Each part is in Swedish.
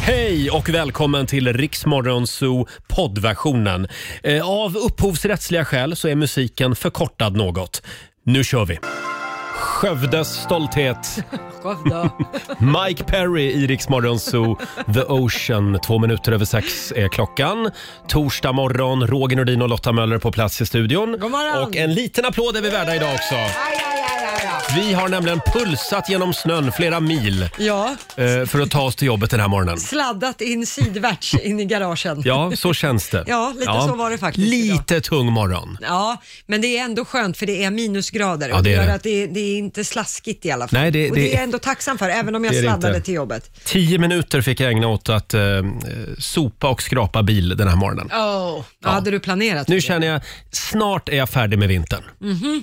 Hej och välkommen till Riksmorgon Zoo poddversionen. Eh, Av upphovsrättsliga skäl så är musiken förkortad något. Nu kör vi! Skövdes stolthet, Skövde. Mike Perry i Riksmorgon Zoo, The Ocean. Två minuter över sex är klockan. Torsdag morgon, Roger Nordin och Lotta Möller på plats i studion. God morgon. Och en liten applåd är vi värda idag också. Aj, aj, aj, aj, aj. Vi har nämligen pulsat genom snön flera mil Ja, eh, för att ta oss till jobbet den här morgonen. sladdat in sidvärts in i garagen. Ja, så känns det. Ja, lite så var det faktiskt Lite tung morgon. Ja, men det är ändå skönt för det är minusgrader Ja, och det det är gör det. att det är, det är inte slaskigt i alla fall. Nej, det- och det- det, är jag ändå tacksam för, även om jag Det är det sladdade inte. till jobbet. Tio minuter fick jag ägna åt att eh, sopa och skrapa bil den här morgonen. Oh. Ja, hade du planerat? Nu det? känner jag, snart är jag färdig med vintern. Mhm.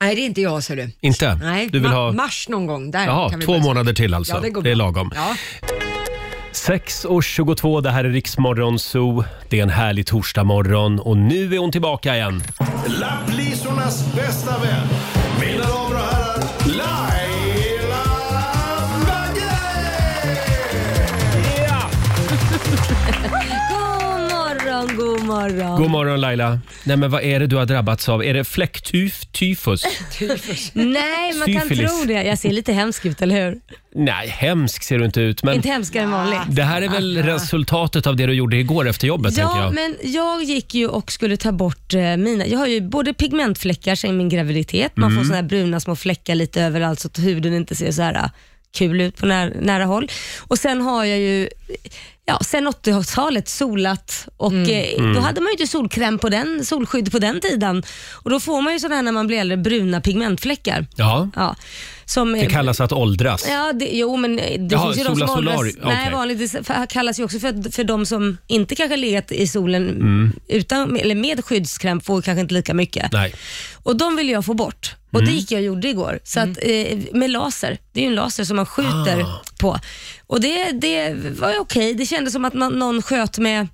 Nej, det är inte jag ser du. Inte? Nej, du vill ma- ha... mars någon gång. Där Jaha, kan vi två börja. månader till alltså. Ja, det går är bra. lagom. Ja. 6.22, det här är Riksmorgon Zoo. Det är en härlig torsdagmorgon och nu är hon tillbaka igen. Lapplisornas bästa vän. Mina damer och herrar, Laila Bagge! God morgon, god morgon. God morgon Laila. Nej men vad är det du har drabbats av? Är det fläcktyf, tyfus? Nej, man kan Syfilis. tro det. Jag ser lite hemsk ut, eller hur? Nej, hemsk ser du inte ut. Men Inte hemskare än vanligt. Det här är väl resultatet av det du gjorde igår efter jobbet? tänker Ah, Ja, jag. men jag gick ju och skulle ta bort eh, mina. Jag har ju både pigmentfläckar sen min graviditet, man Mm. får såna här bruna små fläckar lite överallt så att huden inte ser så här eh, kul ut på nära, nära håll. Och sen har jag ju Ja, sen 80-talet solat och eh, då hade man ju inte solkräm på den, solskydd på den tiden. Och då får man ju sådana här när man blir äldre, bruna pigmentfläckar. Ja, Ja, som det kallas att åldras. Ja, det, jo men det Jaha, finns ju de sola som åldras. solari- okej. Nej, vanligt, det f- kallas ju också för, för de som inte kanske legat i solen Mm. utan, eller med skyddskräm får kanske inte lika mycket. Nej. Mm. Och de vill jag få bort. Och det gick jag och gjorde igår. Så att, eh, med laser. Det är ju en laser som man skjuter Ah. på. Och det, det var ju okej. Det kändes som att man, någon sköt med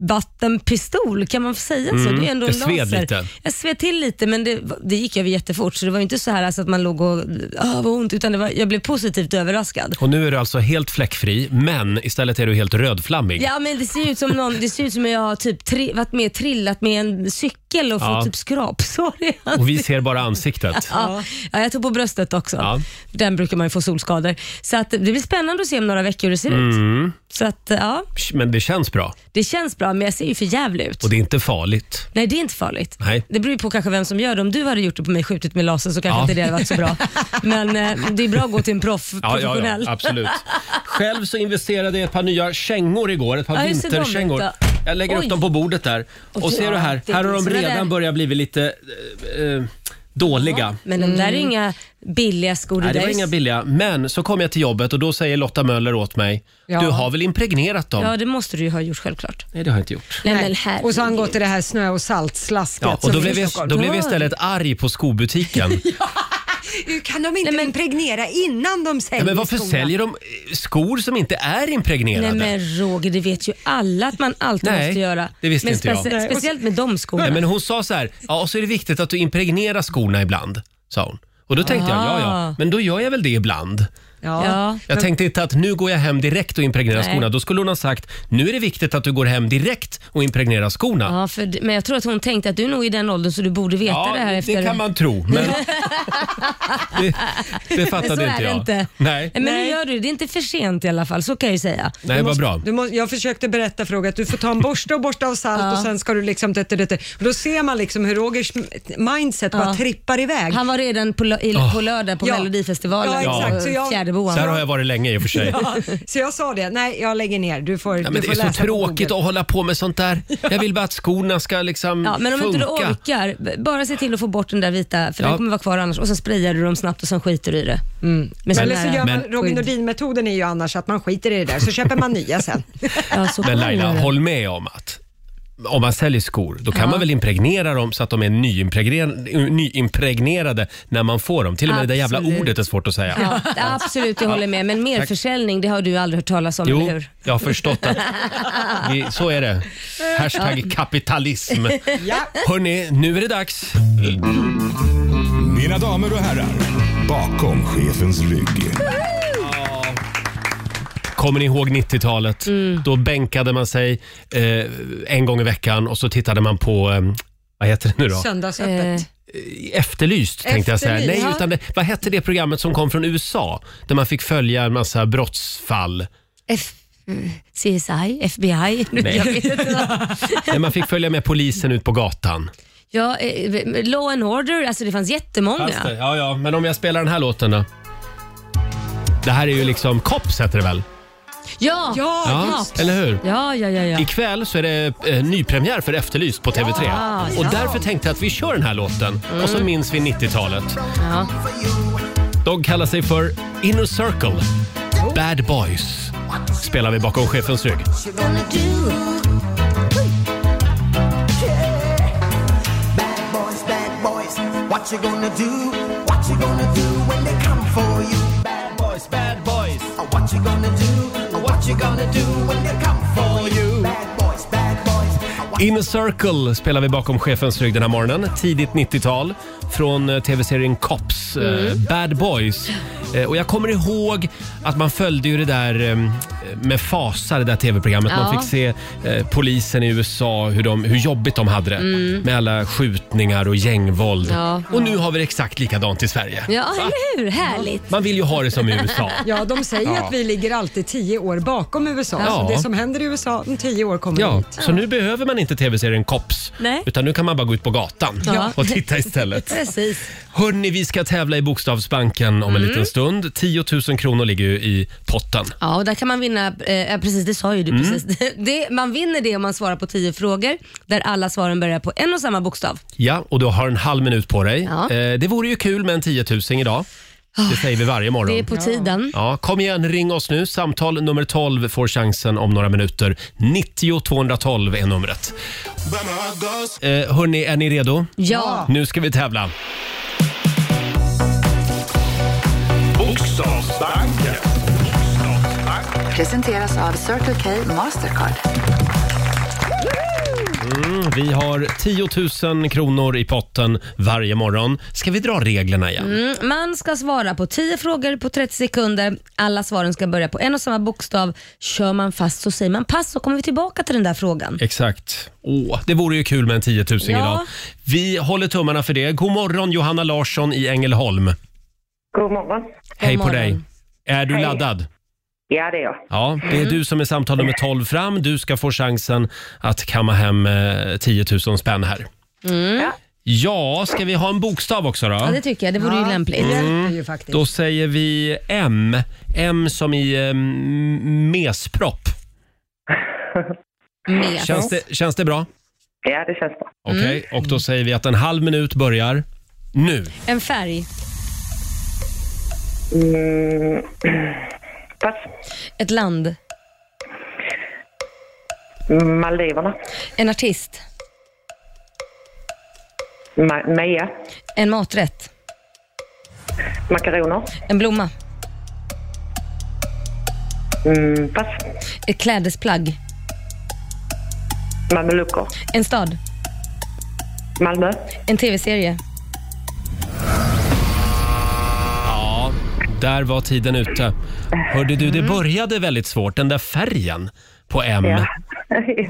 saltvattenpistol, kan man säga så? Det är ju ändå Det en Mm. sved laser. lite. Jag sved till lite men det, det gick över jättefort så det var ju inte så här alltså att man låg och ah, vad ont utan det var, jag blev positivt överraskad. Och nu är du alltså helt fläckfri, men istället är du helt rödflammig. Ja men det ser ju ut som någon, det ser ut som att jag har typ tri, varit med och trillat med en cykel och Ja. fått typ skrapsår i Och vi ser bara ansiktet. Ja. ja, jag tog på bröstet också. Ja. Den brukar man ju få solskador. Så att det blir spännande att se om några veckor hur det ser Mm. ut. Så att ja, Men det känns bra det känns bra men jag ser ju för jävligt ut. och det är inte farligt. Nej, det är inte farligt. Nej. Det beror ju på kanske vem som gör det. Om du hade gjort det på mig, skjutit med laser, så kanske Ja. inte det hade varit så bra. Men eh, det är bra att gå till en proff, Ja, ja, professionell. ja, absolut. Själv så investerade jag i ett par nya kängor igår, ett par Ja, hur ser de vinterkängor. ut då? Jag lägger upp Oj. dem på bordet där. Oj, Och ser du här, det här har finns de sådana där. redan börjat bli lite eh, eh, dåliga. Men de där är inga billiga skor. Mm. Nej, det där var är- inga billiga. Men så kom jag till jobbet och då säger Lotta Möller åt mig. Ja. Du har väl impregnerat dem? Ja, det måste du ju ha gjort självklart. Nej, det har jag inte gjort. Nej, men Nej. herregud. Och så har han gått i det här snö och saltslasket. Ja, som och då finns blev, i jag, Stockholm. Ah, då blev jag istället arg på skobutiken. Hur kan de inte impregnera innan de säljer ja, men varför skorna? säljer de eh, skor som inte är impregnerade? Nej men Roger, det vet ju alla att man alltid Nej, måste göra. det visste men inte jag. specie- Nej, och- Speciellt med de skorna. Nej, men hon sa så här, ja, och så är det viktigt att du impregnerar skorna ibland, sa hon. Och då tänkte jag, ja ja, Ah. men då gör jag väl det ibland. Ja. Jag tänkte inte att nu går jag hem direkt och impregnerar Nej. skorna. Då skulle hon ha sagt, nu är det viktigt att du går hem direkt och impregnerar skorna. Ja, för, d- men jag tror att hon tänkte att du är nog i den åldern så du borde veta det här efter. kan man tro. Men det, det Men så fattade är inte det jag. inte. Nej. Men nu Nej. gör du det. Det är inte för sent i alla fall, så kan jag ju säga. Nej, vad bra. Du må, jag försökte berätta för Roger att du får ta en borste och borsta av salt och sen ska du liksom... Det, det, det. Och då ser man liksom hur Rogers mindset bara Ja. trippar iväg. Han var redan på, lö- i, på lördag på Ja. Melodifestivalen. Ja, exakt. Så jag- Fjärdeboan. Där har jag varit länge i och för sig. Ja, så jag sa det, nej jag lägger ner, du får, Ja, du men det får är så läsa på tråkigt Google. att hålla på med sånt där. Jag vill bara att skorna ska liksom Ja, men om funka. inte du orkar, b- bara se till att få bort den där vita, för Ja. den kommer vara kvar annars. Och så sprayar du dem snabbt och sen skiter du i det. Mm. Men, Eller så gör man, Men- Robin Nordin-metoden är ju annars att man skiter i det där, så köper man nya sen. ja, så Men kan Laila, man göra. håll med om att om man säljer skor, då kan man väl impregnera dem så att de är nyimpregre- nyimpregnerade när man får dem. Till och med det där jävla Absolut. ordet är svårt att säga. Ja, absolut, jag håller med. Men merförsäljning, det har du aldrig hört talas om, eller Jo, hur? jag har förstått att vi, så är det. Hashtag kapitalism. Ja. Hörni, nu är det dags. Mina damer och herrar, bakom chefens rygg. Kommer ni ihåg 90-talet? Då bänkade man sig eh, en gång i veckan och så tittade man på, eh, vad heter det nu då? Söndagsöppet. Eh, Efterlyst tänkte jag säga. Efterlyst, Nej, ja. utan det, vad hette det programmet som kom från USA? Där man fick följa en massa brottsfall. F- mm, CSI, FBI, nu, Nej. jag vet inte. vad. Där man fick följa med polisen ut på gatan. Ja, eh, Law and Order, alltså det fanns jättemånga. Fast det- Ja, ja, men om jag spelar den här låten då? Det här är ju liksom Cops heter det väl? Ja, Ja, Ja, Cops. eller hur? ja, ja, ja. ja. Ikväll så är det eh, nypremiär för Efterlyst på TV3. Ja, och ja. Mm. därför tänkte jag att vi kör den här låten och så minns vi 90-talet. ja. De kallar sig för Inner Circle. Bad Boys spelar vi bakom chefens rygg. Bad boys, bad boys, what you gonna do? What you gonna do when they come for you? Bad boys, bad boys, oh, what you gonna do? Oh, what you gonna do when they come for you? Bad boys, bad boys, oh, what Inner Circle spelar vi bakom chefens rygg den här morgonen. Tidigt 90-tal från eh, tv-serien Cops, eh, Mm. Bad Boys. Eh, Och jag kommer ihåg att man följde ju det där eh, med fasa, det där tv-programmet. Man Ja. fick se eh, polisen i USA, hur, de, hur jobbigt de hade det. Med alla skjutningar och gängvåld. Mm. Ja. Och nu har vi det exakt likadant i Sverige. ja, eller hur? Härligt. Man vill ju ha det som i USA. Ja, de säger att vi ligger alltid tio år bakom USA. Ja. Så det som händer i USA om tio år kommer Ja, hit. så nu behöver man inte tv-serien Cops. Nej. Utan nu kan man bara gå ut på gatan Ja. och titta istället. Precis. Hörni, vi ska tävla i Bokstavsbanken om en Mm. liten stund. 10 000 kronor ligger ju i potten. Ja, och där kan man vinna, eh, ja, precis det sa ju du Mm. precis. Det, man vinner det om man svarar på 10 frågor där alla svaren börjar på en och samma bokstav. Ja, och du har en halv minut på dig. Ja. Ah, Eh, det vore ju kul med en 10 000 idag. Det säger vi varje morgon. Det är på tiden. Ja, kom igen, ring oss nu. Samtal nummer 12 får chansen om några minuter. 90 212 är numret. Eh, hörni, är ni redo? Ja. Nu ska vi tävla. Bokstavsbanken. Presenteras av Circle K Mastercard. Mm, Vi har 10 000 kronor i potten varje morgon. Ska vi dra reglerna igen? Mm, Man ska svara på 10 frågor på 30 sekunder. Alla svaren ska börja på en och samma bokstav. Kör man fast så säger man pass så kommer vi tillbaka till den där frågan. Exakt. Åh, det vore ju kul med en 10 000 Ja. idag. Vi håller tummarna för det. God morgon Johanna Larsson i Ängelholm. God morgon. Hej på morgon. dig. Är du laddad? Ja, er det är jag. Ja, det är Mm. du som är samtal nummer 12 fram. Du ska få chansen att kamma hem eh, 10 000 spänn här. Ja, ska vi ha en bokstav också då? Mm. Ja, det tycker jag. Det vore ju lämpligt. Det hjälper ju faktiskt. Då säger vi M. M som i eh, m- mespropp. Med. Känns det, känns det bra? Ja, det känns bra. Okej, Mm. och då säger vi att en halv minut börjar nu. En färg. Mm. Pass. Ett land. Maldiverna. En artist. Ma- Meja. En maträtt. Makaroner. En blomma. Mm. Pass. Ett klädesplagg. Mamelucker. En stad. Malmö. En tv-serie. Ja, där var tiden ute. Hörde du, det började väldigt svårt. Den där färgen på M, Ja.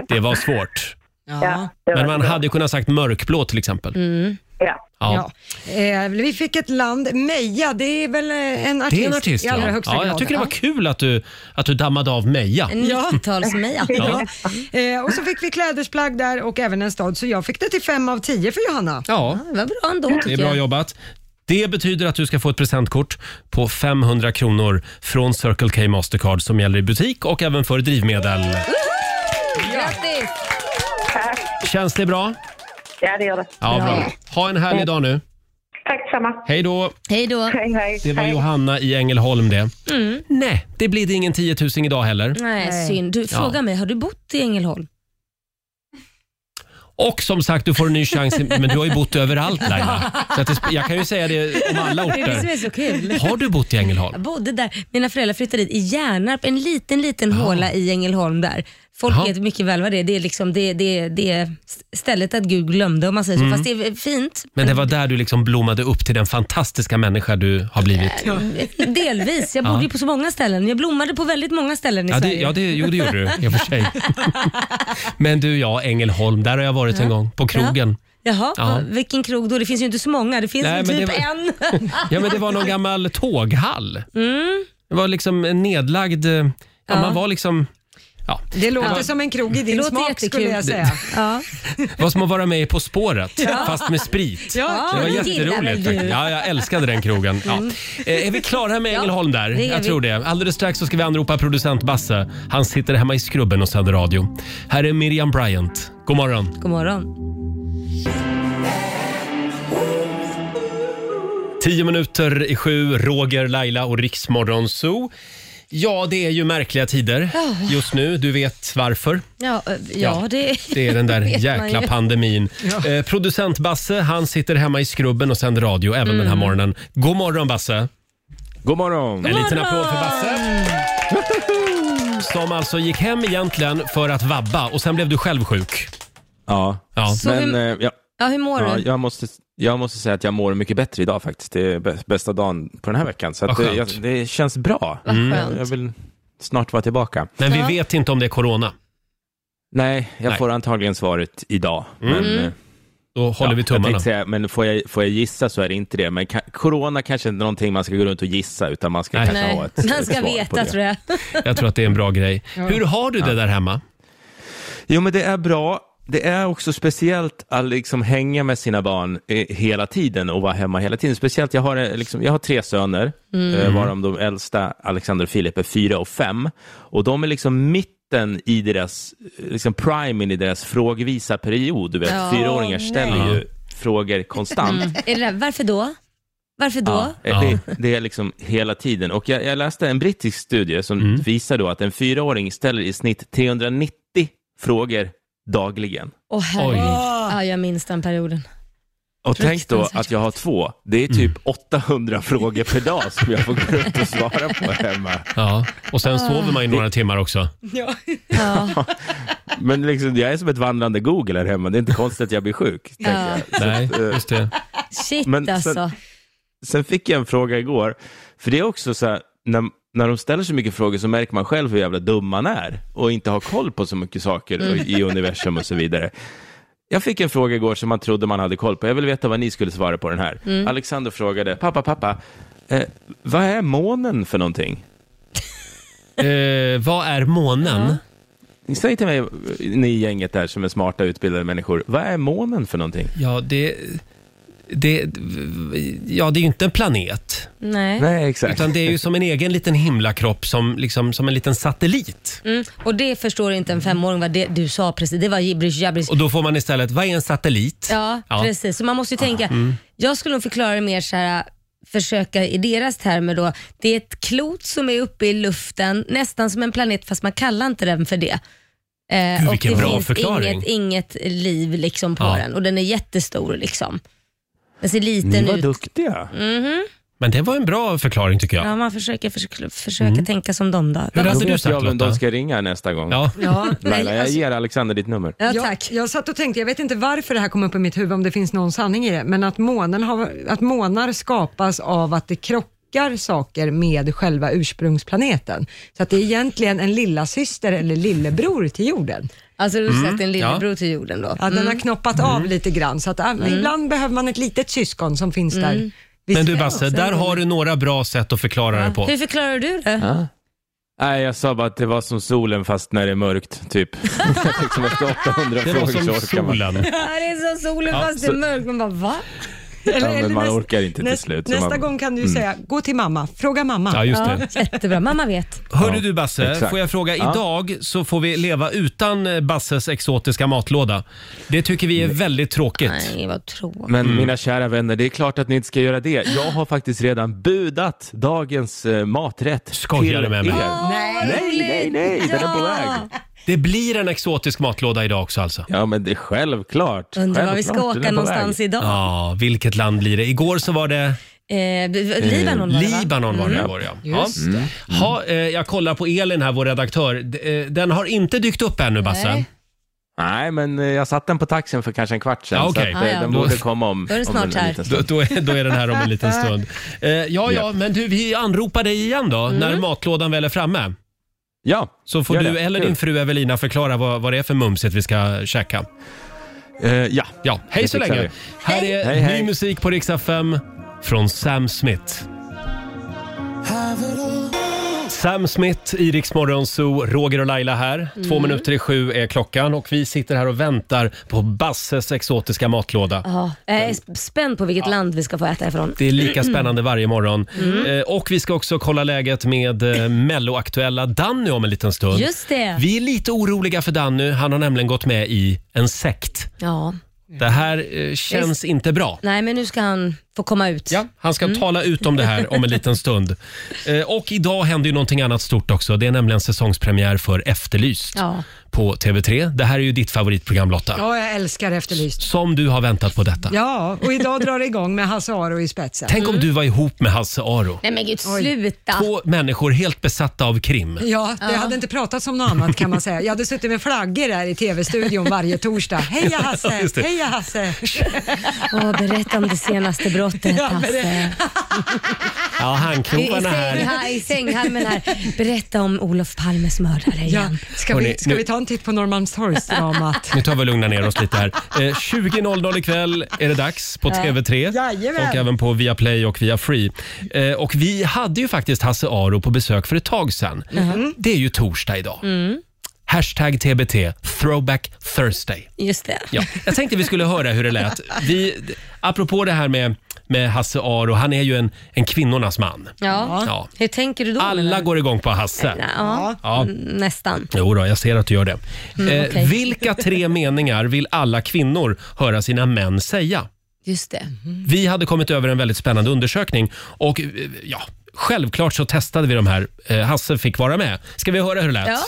det var svårt. ja. Men man hade ju kunnat sagt mörkblå till exempel. Ja. Ja. Eh, vi fick ett land, Meja, det är väl eh, en artist, Det är en artist. i allra Ja. högsta Ja, grad. jag tycker det var Ja. kul att du, att du dammade av Meja. En 90-tals-Meja. Ja. Eh, och så fick vi klädesplagg där och även en stad, så jag fick det till fem av tio för Johanna. Ja, Det var bra ändå tycker det är bra jag. jobbat. Det betyder att du ska få ett presentkort på 500 kronor från Circle K Mastercard som gäller i butik och även för drivmedel. Grattis! Känns det bra? ja, det er gör det. Ja, bra. Ha en härlig dag nu. Tack samma. Hej då! Hej då. Hej, hej. Det var hej. Johanna i Ängelholm det. Nej, det blir det ingen 10 000 idag heller. Mm. Nej, Nej. synd. Du, fråga mig, har du bott i Ängelholm? Och som sagt, du får en ny chans. i- Men du har ju bott överallt Laila. Så att det, sp- jag kan ju säga det om alla Det är det som orter. är så kul. Har du bott i Jag Ängelholm? bodde där. Mina föräldrar flyttade dit i Hjärnarp, en liten, liten håla i Ängelholm där. Folk Jaha. vet mycket väl vad det är. Det är, liksom, det, det, det är stället att Gud glömde om man säger så. Mm. Fast det är fint. Men det var där du liksom blommade upp till den fantastiska människa du har blivit. Delvis. Jag bodde ju på så många ställen. Jag blommade på väldigt många ställen i Ja, det, Sverige. ja det, jo, det gjorde du i och för sig. Men du, ja, Ängelholm, där har jag varit en gång, på krogen. Jaha, Ja. va- vilken krog då? Det finns ju inte så många. Det finns Nej, väl men typ det en. Mm. Ja, men det var någon gammal tåghall. Det var liksom en nedlagd... eh, Ja, ja. Man var liksom... Ja. Det låter som en krog i din låter smak jättekul. skulle jag säga. Ja. Det var som att vara med i På spåret, fast med sprit. Ja, Det var det gillar väl jätteroligt. du? Mm. faktiskt. Ja, jag älskade den krogen. Ja. Eh, Är vi klara med Ängelholm där? det är Jag vi. tror det. Alldeles strax så ska vi anropa producent Basse. Han sitter hemma i skrubben och sänder radio. Här är Miriam Bryant. God morgon. God morgon. Tio minuter i sju, Roger, Laila och Riksmorgon Zoo. Ja, det är ju märkliga tider Ah. just nu. Du vet varför. Ja, eh, ja, Ja, det, Det är den där vet man jäkla ju. pandemin. Eh, producent Basse, han sitter hemma i skrubben och sänder radio även den Mm. här morgonen. God morgon Basse! God morgon! En liten morgon! applåd för Basse. Som alltså gick hem egentligen för att vabba och sen blev du själv sjuk. Ja, Ja. Så men hur, eh, jag, ja, hur mår ja, du? jag, måste, jag måste säga att jag mår mycket bättre idag faktiskt. Det är bä- bästa dagen på den här veckan. Så att Vad det, jag, skönt. Mm. det känns bra. skönt. Jag vill snart vara tillbaka. Men Ja. vi vet inte om det är corona. Nej, jag Nej. Mm. får antagligen svaret idag. Men, eh, Då håller ja, vi jag tänkte tummarna. säga, men får jag, får jag gissa så är det inte det. Men ka, corona kanske inte är någonting man ska gå runt och gissa, utan man ska Nej. kanske Nej, ha ett man ett ska svar på veta det. tror jag. Jag tror att det är en bra grej. Hur har du det där hemma? Jo, men det är bra. Det är också speciellt att liksom hänga med sina barn eh, hela tiden och vara hemma hela tiden. Speciellt, jag har, eh, liksom, jag har tre söner, mm. varav de äldsta, Alexander och Filip, är fyra och fem. Och de är liksom mitten i deras, eh, liksom primen i deras frågvisa period. Du vet, Ja, fyraåringar nej. ställer ju frågor konstant. Mm. Är det där, varför då? Varför då? Ja. Det, det är liksom hela tiden. Och jag, jag läste en brittisk studie som Mm. visar då att en fyraåring ställer i snitt 390 frågor dagligen. Åh Oj. herregud. Ja, jag minns den perioden. Och tänk då Fruktansvärt. att jag har två. Det är Mm. typ 800 frågor per dag som jag får gå runt och svara på hemma. Ja. Och sen sover man i några timmar också. Ja. Men liksom, jag är som ett vandrande Google här hemma. Det är inte konstigt att jag blir sjuk. tänker Ja. jag. Så Nej, att, eh, just det. Shit Men sen- alltså. Sen fick jag en fråga igår. För det är också så här, när, när de ställer så mycket frågor så märker man själv hur jävla dum man är och inte har koll på så mycket saker Mm. och- i universum och så vidare. Jag fick en fråga igår som man trodde man hade koll på. Jag vill veta vad ni skulle svara på den här. Mm. Alexander frågade, pappa, pappa, eh, vad är månen för någonting? Eh, vad är månen? Säg till mig, ni i gänget där som är smarta, utbildade människor, vad är månen för någonting? Ja, det... Det, ja, det är ju inte en planet. Nej. Nej, exakt. Utan det är ju som en egen liten himlakropp, som, liksom, som en liten satellit. Mm. Och det förstår inte en femåring vad det, du sa precis. Det var gibberish jabberish. Och då får man istället, vad är en satellit? Ja, precis. Så man måste ju tänka. Mm. Jag skulle nog förklara det mer så här försöka i deras termer då. Det är ett klot som är uppe i luften, nästan som en planet fast man kallar inte den för det. Eh, Gud, och vilken det bra finns förklaring. inget, inget liv liksom på Ja. den och den är jättestor liksom. Den ser Ni liten var ut. Mhm. duktiga. Men det var en bra förklaring tycker jag. Ja, man försöker, försöker, försöker tänka som dem då. Hur Mm. Då hade du vet sagt jag vem Lotta? de ska ringa nästa gång. Ja. Ja, Laila, nej, jag alltså, ger Alexander ditt nummer. Ja, jag, tack. jag satt och tänkte, jag vet inte varför det här kom upp i mitt huvud, om det finns någon sanning i det, men att, månen har, att månar skapas av att det krockar saker med själva ursprungsplaneten. Så att det är egentligen en lilla syster eller lillebror till jorden. Alltså Mm. du har sett en ja. lillebror Mm. till jorden då. Ja, Den har knoppat av lite grann, så att äh, ibland behöver man ett litet syskon som finns Mm. där. Visst- Men du Basse, där har du några bra sätt att förklara det på. Hur förklarar du det? Nej, jag sa bara att det var som solen fast när det är mörkt, typ. liksom efter 800 Det frågor var så som orkar man. solen. Ja, det är som solen fast det är så- mörkt. Man bara va? Ja, men man näst- orkar inte till näst- slut. så Nästa man, Mm. gång kan du ju säga, gå till mamma, fråga mamma. Ja, just Ja, det. jättebra. Mamma vet. Hörru du Basse, exakt. får jag fråga, Ja. idag så får vi leva utan eh, Basses exotiska matlåda. Det tycker vi är väldigt tråkigt. Mm. Nej, vad tråkigt. Men mina kära vänner, det är klart att ni inte ska göra det. Jag har faktiskt redan budat dagens eh, maträtt Skojar du till med mig? er. Nej, nej, nej, den är på väg. Det blir en exotisk matlåda idag också alltså. Ja, men det är självklart. Undrar var vi ska Självklart, den åka är på någonstans väg. idag. Ja, vilket land blir det? Igår så var det Eh, Libanon var det va? Libanon var det Mm. var det, ja. Just ja. Ha, eh, jag kollar på Elin här, vår redaktör. D- eh, Den har inte dykt upp ännu, Basse. Nej. Nej, men eh, jag satte den på taxin för kanske en kvart sedan. Ja, så okej. att, eh, Ja, ja. Den borde komma om, Då är det om en snart här. liten Då, stund. då, är, då är den här om en liten stund. Eh, ja, ja, men du, vi anropar dig igen då, Mm. när matlådan väl är framme. Ja, Så får gör du det. eller Kul. din fru Evelina förklara vad, vad det är för mumset vi ska käka. Eh, ja. Ja, hej Det så fixar länge. vi. Här är Hej, hej. ny musik på Riksa 5 från Sam Smith. Sam Smith, i Rix Morgon Zoo, Roger och Laila här. Mm. Två minuter i sju är klockan och vi sitter här och väntar på Basses exotiska matlåda. Ja, jag är sp- spänd på vilket land vi ska få äta ifrån. Mm. Det är lika spännande varje morgon. Eh, och vi ska också kolla läget med eh, Melloaktuella Danny om en liten stund. Just det. Vi är lite oroliga för Danny. Han har nämligen gått med i en sekt. Ja. Det här eh, känns inte bra. Nej, men nu ska han få komma ut. Ja, han ska Mm. tala ut om det här om en liten stund. Eh, och idag händer ju någonting annat stort också. Det är nämligen säsongspremiär för Efterlyst Ja. på TV3. Det här är ju ditt favoritprogram Lotta. Ja, jag älskar Efterlyst. Som du har väntat på detta. Ja, och idag drar det igång med Hasse Aro i spetsen. Tänk om du var ihop med Hasse Aro. Nej men gud, sluta. Två människor helt besatta av krim. Ja, det hade inte pratats om något annat kan man säga. Jag hade suttit med flaggor där i tv-studion varje torsdag. Heja Hasse! Just det. Heja Hasse! Åh, berätta om det senaste brottet, Ja, Hasse. Ja, I, handkrokarna säng, här. här, I sänghalmen här. Berätta om Olof Palmes mördare Ja, igen. ska Hörrni, vi, ska nu- vi ta en titt på Norrmalmstorgsdramat? Nu tar vi och lugnar ner oss lite här. Eh, 20.00 ikväll är det dags på TV3 Jajamän. och även på Viaplay och via Free. Eh, och vi hade ju faktiskt Hasse Aro på besök för ett tag sedan. Det är ju torsdag idag. Mm, Hashtag TBT, throwback Thursday. Just det. Ja, jag tänkte vi skulle höra hur det lät. Vi, apropå det här med, med Hasse Aro, han är ju en, en kvinnornas man. Ja. Ja. Hur tänker du då? Alla går igång på Hasse. Ja, ja. Ja. nästan. Jo då, jag ser att du gör det. eh, Mm, okej. Vilka tre meningar vill alla kvinnor höra sina män säga? Just det. Vi hade kommit över en väldigt spännande undersökning och eh, ja, självklart så testade vi de här. Eh, Hasse fick vara med. Ska vi höra hur det lät? Ja.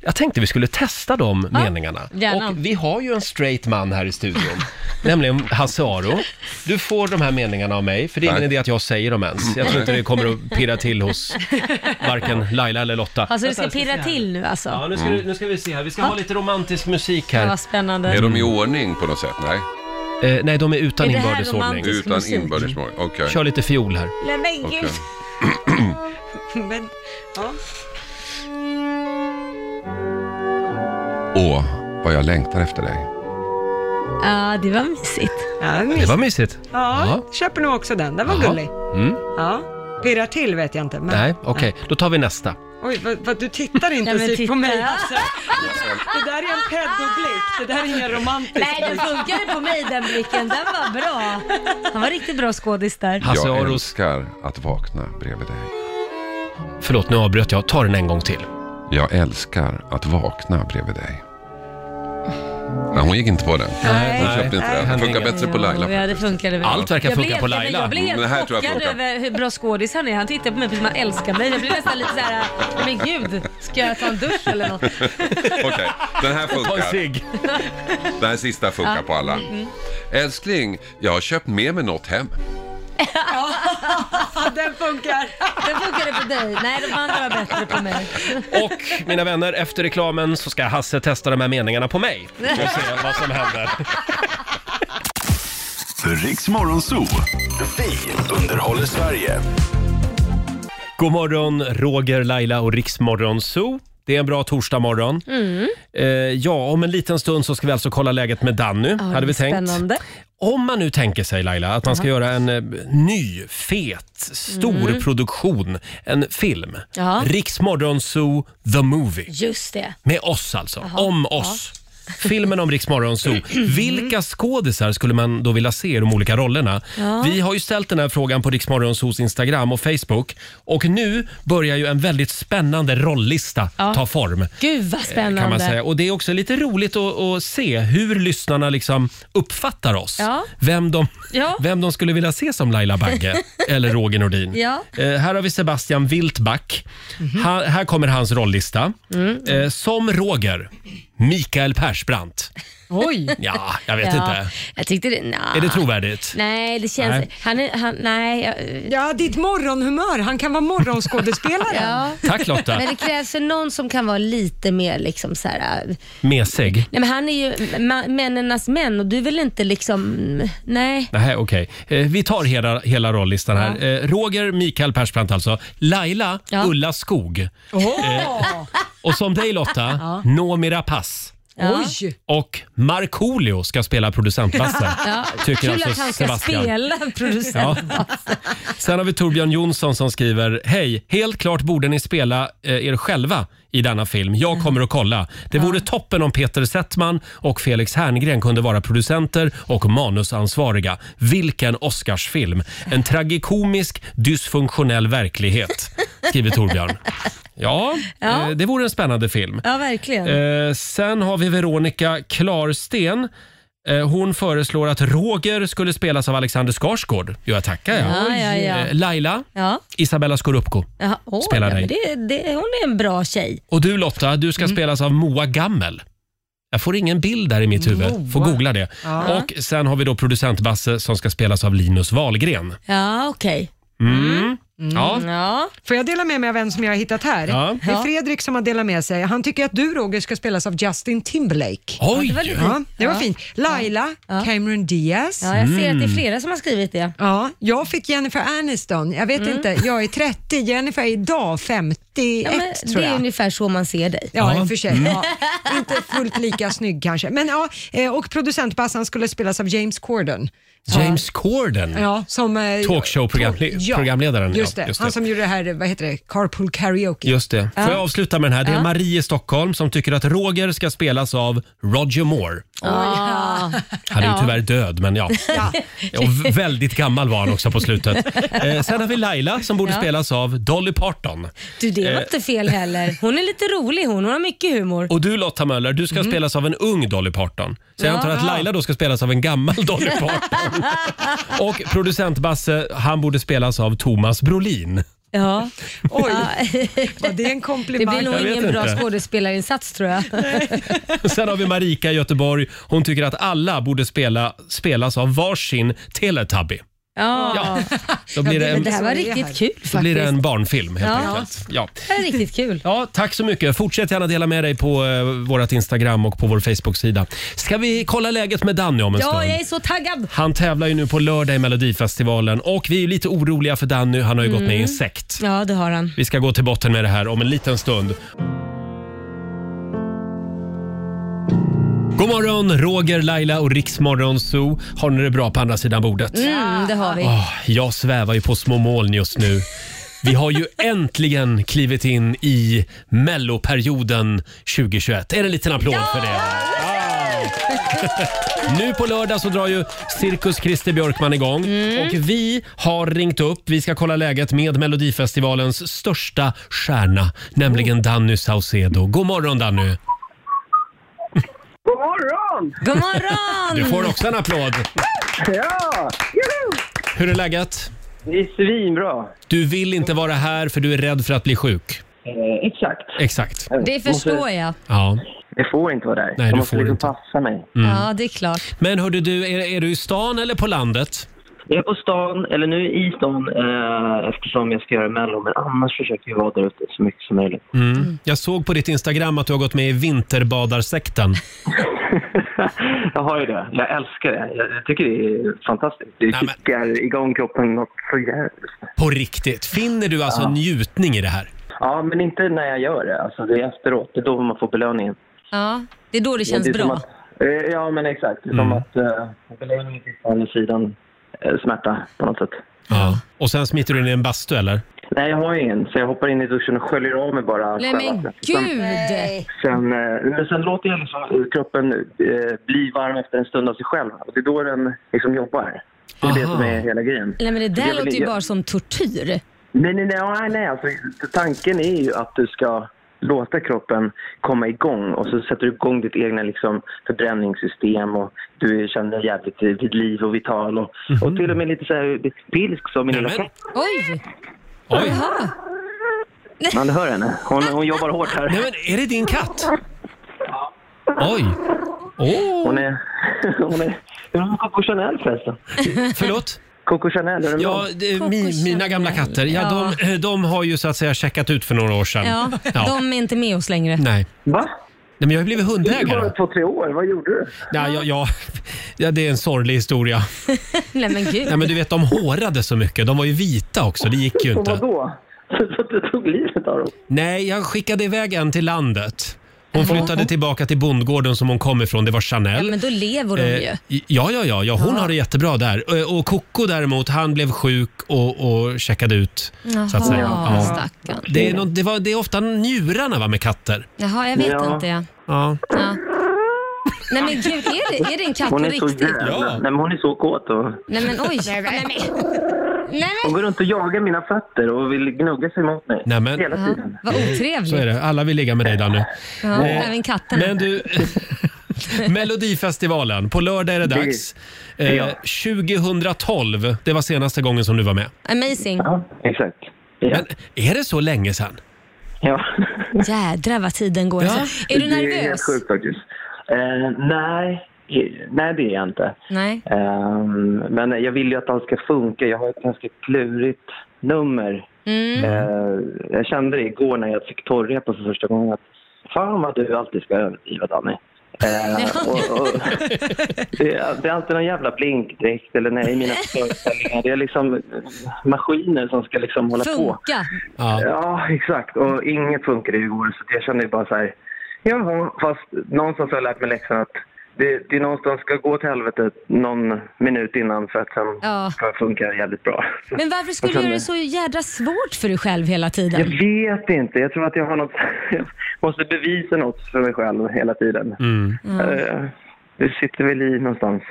Jag tänkte vi skulle testa de meningarna. gärna. Och vi har ju en straight man här i studion, nämligen Hasse Aro. Du får de här meningarna av mig, för det är ingen Tack. idé att jag säger dem ens. Jag tror inte det kommer att pirra till hos varken Laila eller Lotta. Alltså du ska pirra till nu alltså. Ja, nu ska, vi- nu ska vi se här. Vi ska ha lite romantisk musik Ja, här. vad spännande. Är de i ordning på något sätt? Nej, Eh, nej, de är utan Är det här inbördes ordning. romantisk? utan musik. inbördes mål. Okej. Kör lite fiol här. Nej, men gud. okej. Men, ja. Åh, vad jag längtar efter dig. Ja, det var mysigt. Ja, Det mys- var mysigt. ja, Ja. köper nog också den. Den var Jaha. gullig. Ja. Pirrar till vet jag inte. Men... Mm. Nej, okej. Då tar vi nästa. Oj, vad, vad du tittar Nej, men intensivt titta. på mig. Alltså. Det där är en pedoblick. Det där är ingen romantisk Nej, den blick. funkade på mig den blicken. Den var bra. Han var riktigt bra skådis där. Hasse jag Aros... älskar att vakna bredvid dig. Förlåt, nu avbröt jag. Ta den en gång till. Jag älskar att vakna bredvid dig. Nej, hon gick inte på den. Nej, Hon köpte inte den. Det funkar bättre på Laila. Ja, det funkade väl. Allt verkar Jag blev funka på helt- Laila. Jag blev Men det här helt tror jag chockad funkar. över hur bra skådis han är. Han tittar på mig precis som han älskar mig. Jag blev nästan lite såhär, men gud, ska jag ta en dusch eller något? Okej, den här funkar. cigg. Den här sista funkar på Mm, alla. Älskling, jag har köpt med mig något hem. Ja, den funkar. Den funkade på dig. Nej, de andra var bättre på mig. Och mina vänner, efter reklamen så ska Hasse testa de här meningarna på mig. Vi får se vad som händer. Riks Morgonzoo. Vi underhåller Sverige. God morgon, Roger, Laila och Riksmorgon Zoo. Det är en bra torsdagmorgon. Mm. Eh, ja, om en liten stund så ska vi alltså kolla läget med Danny, Ja, hade vi tänkt. Spännande. Om man nu tänker sig Laila att man ska göra en eh, ny, fet, stor produktion, en film. Mm. Ja. Riksmorgon Zoo The Movie. Just det. Med oss alltså, om oss. Filmen om Riksmorgon Zoo. Mm. Vilka skådisar skulle man då vilja se i de olika rollerna? Vi har ju ställt den här frågan på Riksmorgon Zoos Instagram och Facebook. Och nu börjar ju en väldigt spännande rollista Ja. ta form. Gud vad spännande. Eh, Kan man säga. Och Det är också lite roligt att, att se hur lyssnarna liksom uppfattar oss. Ja. Vem, de, Ja. vem de skulle vilja se som Laila Bagge eller Roger Nordin. Ja. Mhm. Eh, här har vi Sebastian Mm. Wiltback. Ha, här kommer hans rollista. Eh, som Roger Mikael Persbrandt. Oj! Ja, jag vet inte. Jag tyckte det, nah. Är det trovärdigt? Ah. Nej, det känns... Nej. Han är, han, nej, jag- Ja, ditt morgonhumör. Han kan vara morgonskådespelare. ja. Tack Lotta. Men det krävs ju någon som kan vara lite mer liksom så här. äh, Mesig. Nej men han är ju ma- männens män och du vill inte liksom, nej. Nej, okej. Eh, Vi tar hela, hela rollistan här. Eh, Roger Mikael Persbrandt alltså. Laila Ja. Ulla Skog. Eh, Åh! Och som dig Lotta, Noomi Rapace. Ja. Oj! Och Markoolio ska spela producentbassen. Ja. Tycker Kul alltså att han ska Sebastian. spela producent. Ja. Sen har vi Torbjörn Jonsson som skriver Hej, helt klart borde ni spela eh, er själva i denna film. Jag kommer att kolla. Det vore toppen om Peter Settman och Felix Herngren kunde vara producenter och manusansvariga. Vilken Oscarsfilm! En tragikomisk, dysfunktionell verklighet, skriver Torbjörn. Ja, Ja. Eh, det vore en spännande film. Ja, verkligen. Eh, sen har vi Veronica Klarsten. Eh, hon föreslår att Roger skulle spelas av Alexander Skarsgård. Jo, jag tackar jag. Ja, ja, ja. Eh, Laila, Ja. Isabella Scorupco. Jaha, åh, Spelar ja, men dig. det, det, hon är en bra tjej. Och du Lotta, du Mm. ska spelas av Moa Gammel. Jag får ingen bild där i mitt huvud. Får googla det. Och sen har vi då producent Basse som ska spelas av Linus Wahlgren. Ja, okej. Mm. Ja. Ja. Får jag dela med mig av en som jag har hittat här? Ja. Det är Fredrik som har delat med sig. Han tycker att du Roger ska spelas av Justin Timberlake. Oj! det var lite- Ja, det var Ja. fint. Laila, Cameron Diaz. Ja. ja, jag ser Mm. att det är flera som har skrivit det. jag fick Jennifer Aniston. Jag Mm. vet inte, jag är 30, Jennifer är idag 51 Ja, men tror det är jag. ungefär så man ser dig. Ja, i Ja. Mm. och för sig. Ja, inte fullt lika snygg kanske. Men, ja, eh, och producentbassan skulle spelas av James Corden. James Corden. Ja, som... eh, Talkshow-programle- Ja, Mm. programledaren, ja, Just det. just det. Han som gjorde det här, vad heter det, Carpool Karaoke. Just det. Får jag avsluta med den här? Det är Marie i Stockholm som tycker att Roger ska spelas av Roger Moore. Ja. Han Ah. är ju Oh Ja. tyvärr död, men ja. Och v- väldigt gammal var han också på slutet. Eh, sen har vi Laila som borde spelas av Dolly Parton. Eh, Du, det var inte fel heller. Hon är lite rolig hon. Hon har mycket humor. Och du Lotta Möller, du ska Mm. spelas av en ung Dolly Parton. Så jag antar att Laila då ska spelas av en gammal Dolly Parton. Och producent Basse, han borde spelas av Thomas Brolin. Ja. Oj, Ja. var det en Det komplimang? blir nog Jag vet ingen bra inte. skådespelarinsats tror jag. Sen har vi Marika i Göteborg. Hon tycker att alla borde spela, spelas av varsin Teletubby. Ja. Ja, då blir det Men en, det här var Så det är riktigt här. kul då faktiskt. blir det en barnfilm helt Ja. enkelt. Ja. Det här är riktigt kul. Ja, tack så mycket. Fortsätt gärna dela med dig på eh, vårt Instagram och på vår Facebook-sida. Ska vi kolla läget med Danny om en Ja, stund? jag är så taggad. Han tävlar ju nu på lördag i Melodifestivalen och vi är ju lite oroliga för Danny. Han har ju gått med i en sekt. Mm. Ja, det har han. Vi ska gå till botten med det här om en liten stund. God morgon, Roger, Laila och Riksmorgon Zoo. Har ni det bra på andra sidan bordet? Mm, det har vi. Ah, jag svävar ju på små moln just nu. Vi har ju äntligen klivit in i melloperioden 2021. Är det en liten applåd för det? Ja. Nu på lördag så drar ju Cirkus Christer Björkman igång Mm. och vi har ringt upp. Vi ska kolla läget med Melodifestivalens största stjärna, Oh. nämligen Danny Saucedo. God morgon Danny! God morgon! God Du morgon! får också en applåd. Ja! Juhu! Hur är läget? Det är svinbra. Du vill inte vara här för du är rädd för att bli sjuk. Eh, exakt. Exakt. Det förstår jag. Ja. Jag får inte vara där. Nej, du jag måste får liksom inte. Mm. passa mig. Ja, det är klart. Men hörde du, är, är du i stan eller på landet? Jag är på stan, eller nu i stan, eh, eftersom jag ska göra Mello. Men annars försöker jag vara där ute så mycket som möjligt. Mm. Mm. Jag såg på ditt Instagram att du har gått med i vinterbadarsekten. jag har ju det. Jag älskar det. Jag, jag tycker det är fantastiskt. Det Nej, men- kickar igång kroppen något så jävligt. På riktigt. Finner du alltså njutning i det här? Ja, men inte när jag gör det. Alltså, det är efteråt. Det är då man får belöningen. Ja, det är då det känns det är som bra. Att, eh, ja, men exakt. Det är Mm. som att eh, belöningen finns på andra sidan eh, smärta på något sätt. Ja. Och sen smiter du in i en bastu eller? Nej, jag har ingen. Så jag hoppar in i duschen och sköljer av mig bara Nej men sjövattnet. Sen, gud! sen, eh, men sen låter jag liksom kroppen eh, bli varm efter en stund av sig själv. Och det är då den liksom jobbar. Det är det Aha. som är hela grejen. Nej men det Jag där vill- låter ju jag- bara som tortyr. Nej, nej, nej. nej, nej alltså, tanken är ju att du ska låta kroppen komma igång och så sätter du igång ditt egna liksom, förbränningssystem och du känner dig jävligt eh, vid liv och vital och, och till och med lite så här pilsk som min lilla Mhm. Nämen. katt. Oj! Oj! Jaha. Man hör henne. Hon, hon jobbar hårt här. Nej men är det din katt? Oj! Oh. Hon är... Hon är... Hur är Coco Chanel förresten? Förlåt? Coco Chanel, är det Ja, någon? det, mi, mina gamla katter, ja, Ja. De, eh, de har ju så att säga checkat ut för några år sedan. Ja, de är inte med oss längre. Nej. Va? Nej, men jag har blivit Det var hundägare. bara två, tre år. Vad gjorde du? Ja, ja, ja. ja, det är en sorglig historia. Nej men gud. Nej, men du vet, de hårade så mycket. De var ju vita också, det gick ju Och inte. vadå? Så att du tog livet av dem? Nej, jag skickade iväg en till landet. Hon flyttade tillbaka till bondgården som hon kom ifrån. Det var Ja, Chanel. men då lever de ju. Eh, ja, ja, ja, ja, hon har det jättebra där. Eh, Och Koko däremot, han blev sjuk och, och checkade ut. Så att säga. Jaha, Ja. stackarn. Det, är nå- det, var, det är ofta njurarna va, med katter. Jaha, jag vet Ja. inte. Ja. Ja. Ja. Nej men gud, är det, är det en katt på Hon är så riktigt? jävla... Ja. Nej, men hon är så kåt. Och... Nej men oj. Nej men. Nej, Hon men. går runt och jagar mina fötter och vill gnugga sig mot mig. Nej, men- Hela tiden. Vad Så är otrevligt. det. Alla vill ligga med dig Danny. Ja, Eh, även katterna. Men du, Melodifestivalen. På lördag är det dags. Eh, 2012, det var senaste gången som du var med. Amazing. Ja, exakt. Ja. Men är det så länge sedan? ja. Jädrar vad tiden går. Ja. Alltså. Är du Det är nervös? helt sjukt faktiskt. Eh, nej. nej, det är jag inte. Nej. Ehm, men jag vill ju att allt ska funka. Jag har ett ganska klurigt nummer. Mm. Eh, jag kände det igår när jag fick torrrepa för första gången. Att, Fan vad du alltid ska överdriva, Danny. Eh, och, och, det, är, det är alltid någon jävla blinkdräkt eller nej, mina föreställningar. Det är liksom maskiner som ska liksom hålla på. Funka. Ja. Ja, exakt. Och inget funkade igår, så jag kände ju bara så här... Jaha, fast någonstans har jag lärt mig läxan att det, det någonstans ska gå till helvete någon minut innan för att sen Ja. ska det funka jävligt bra. Men varför skulle du göra det så jädra svårt för dig själv hela Jag tiden? vet inte. Jag tror att jag har något... Jag måste bevisa något för mig själv hela tiden. Mm. Eh, Det sitter väl i någonstans,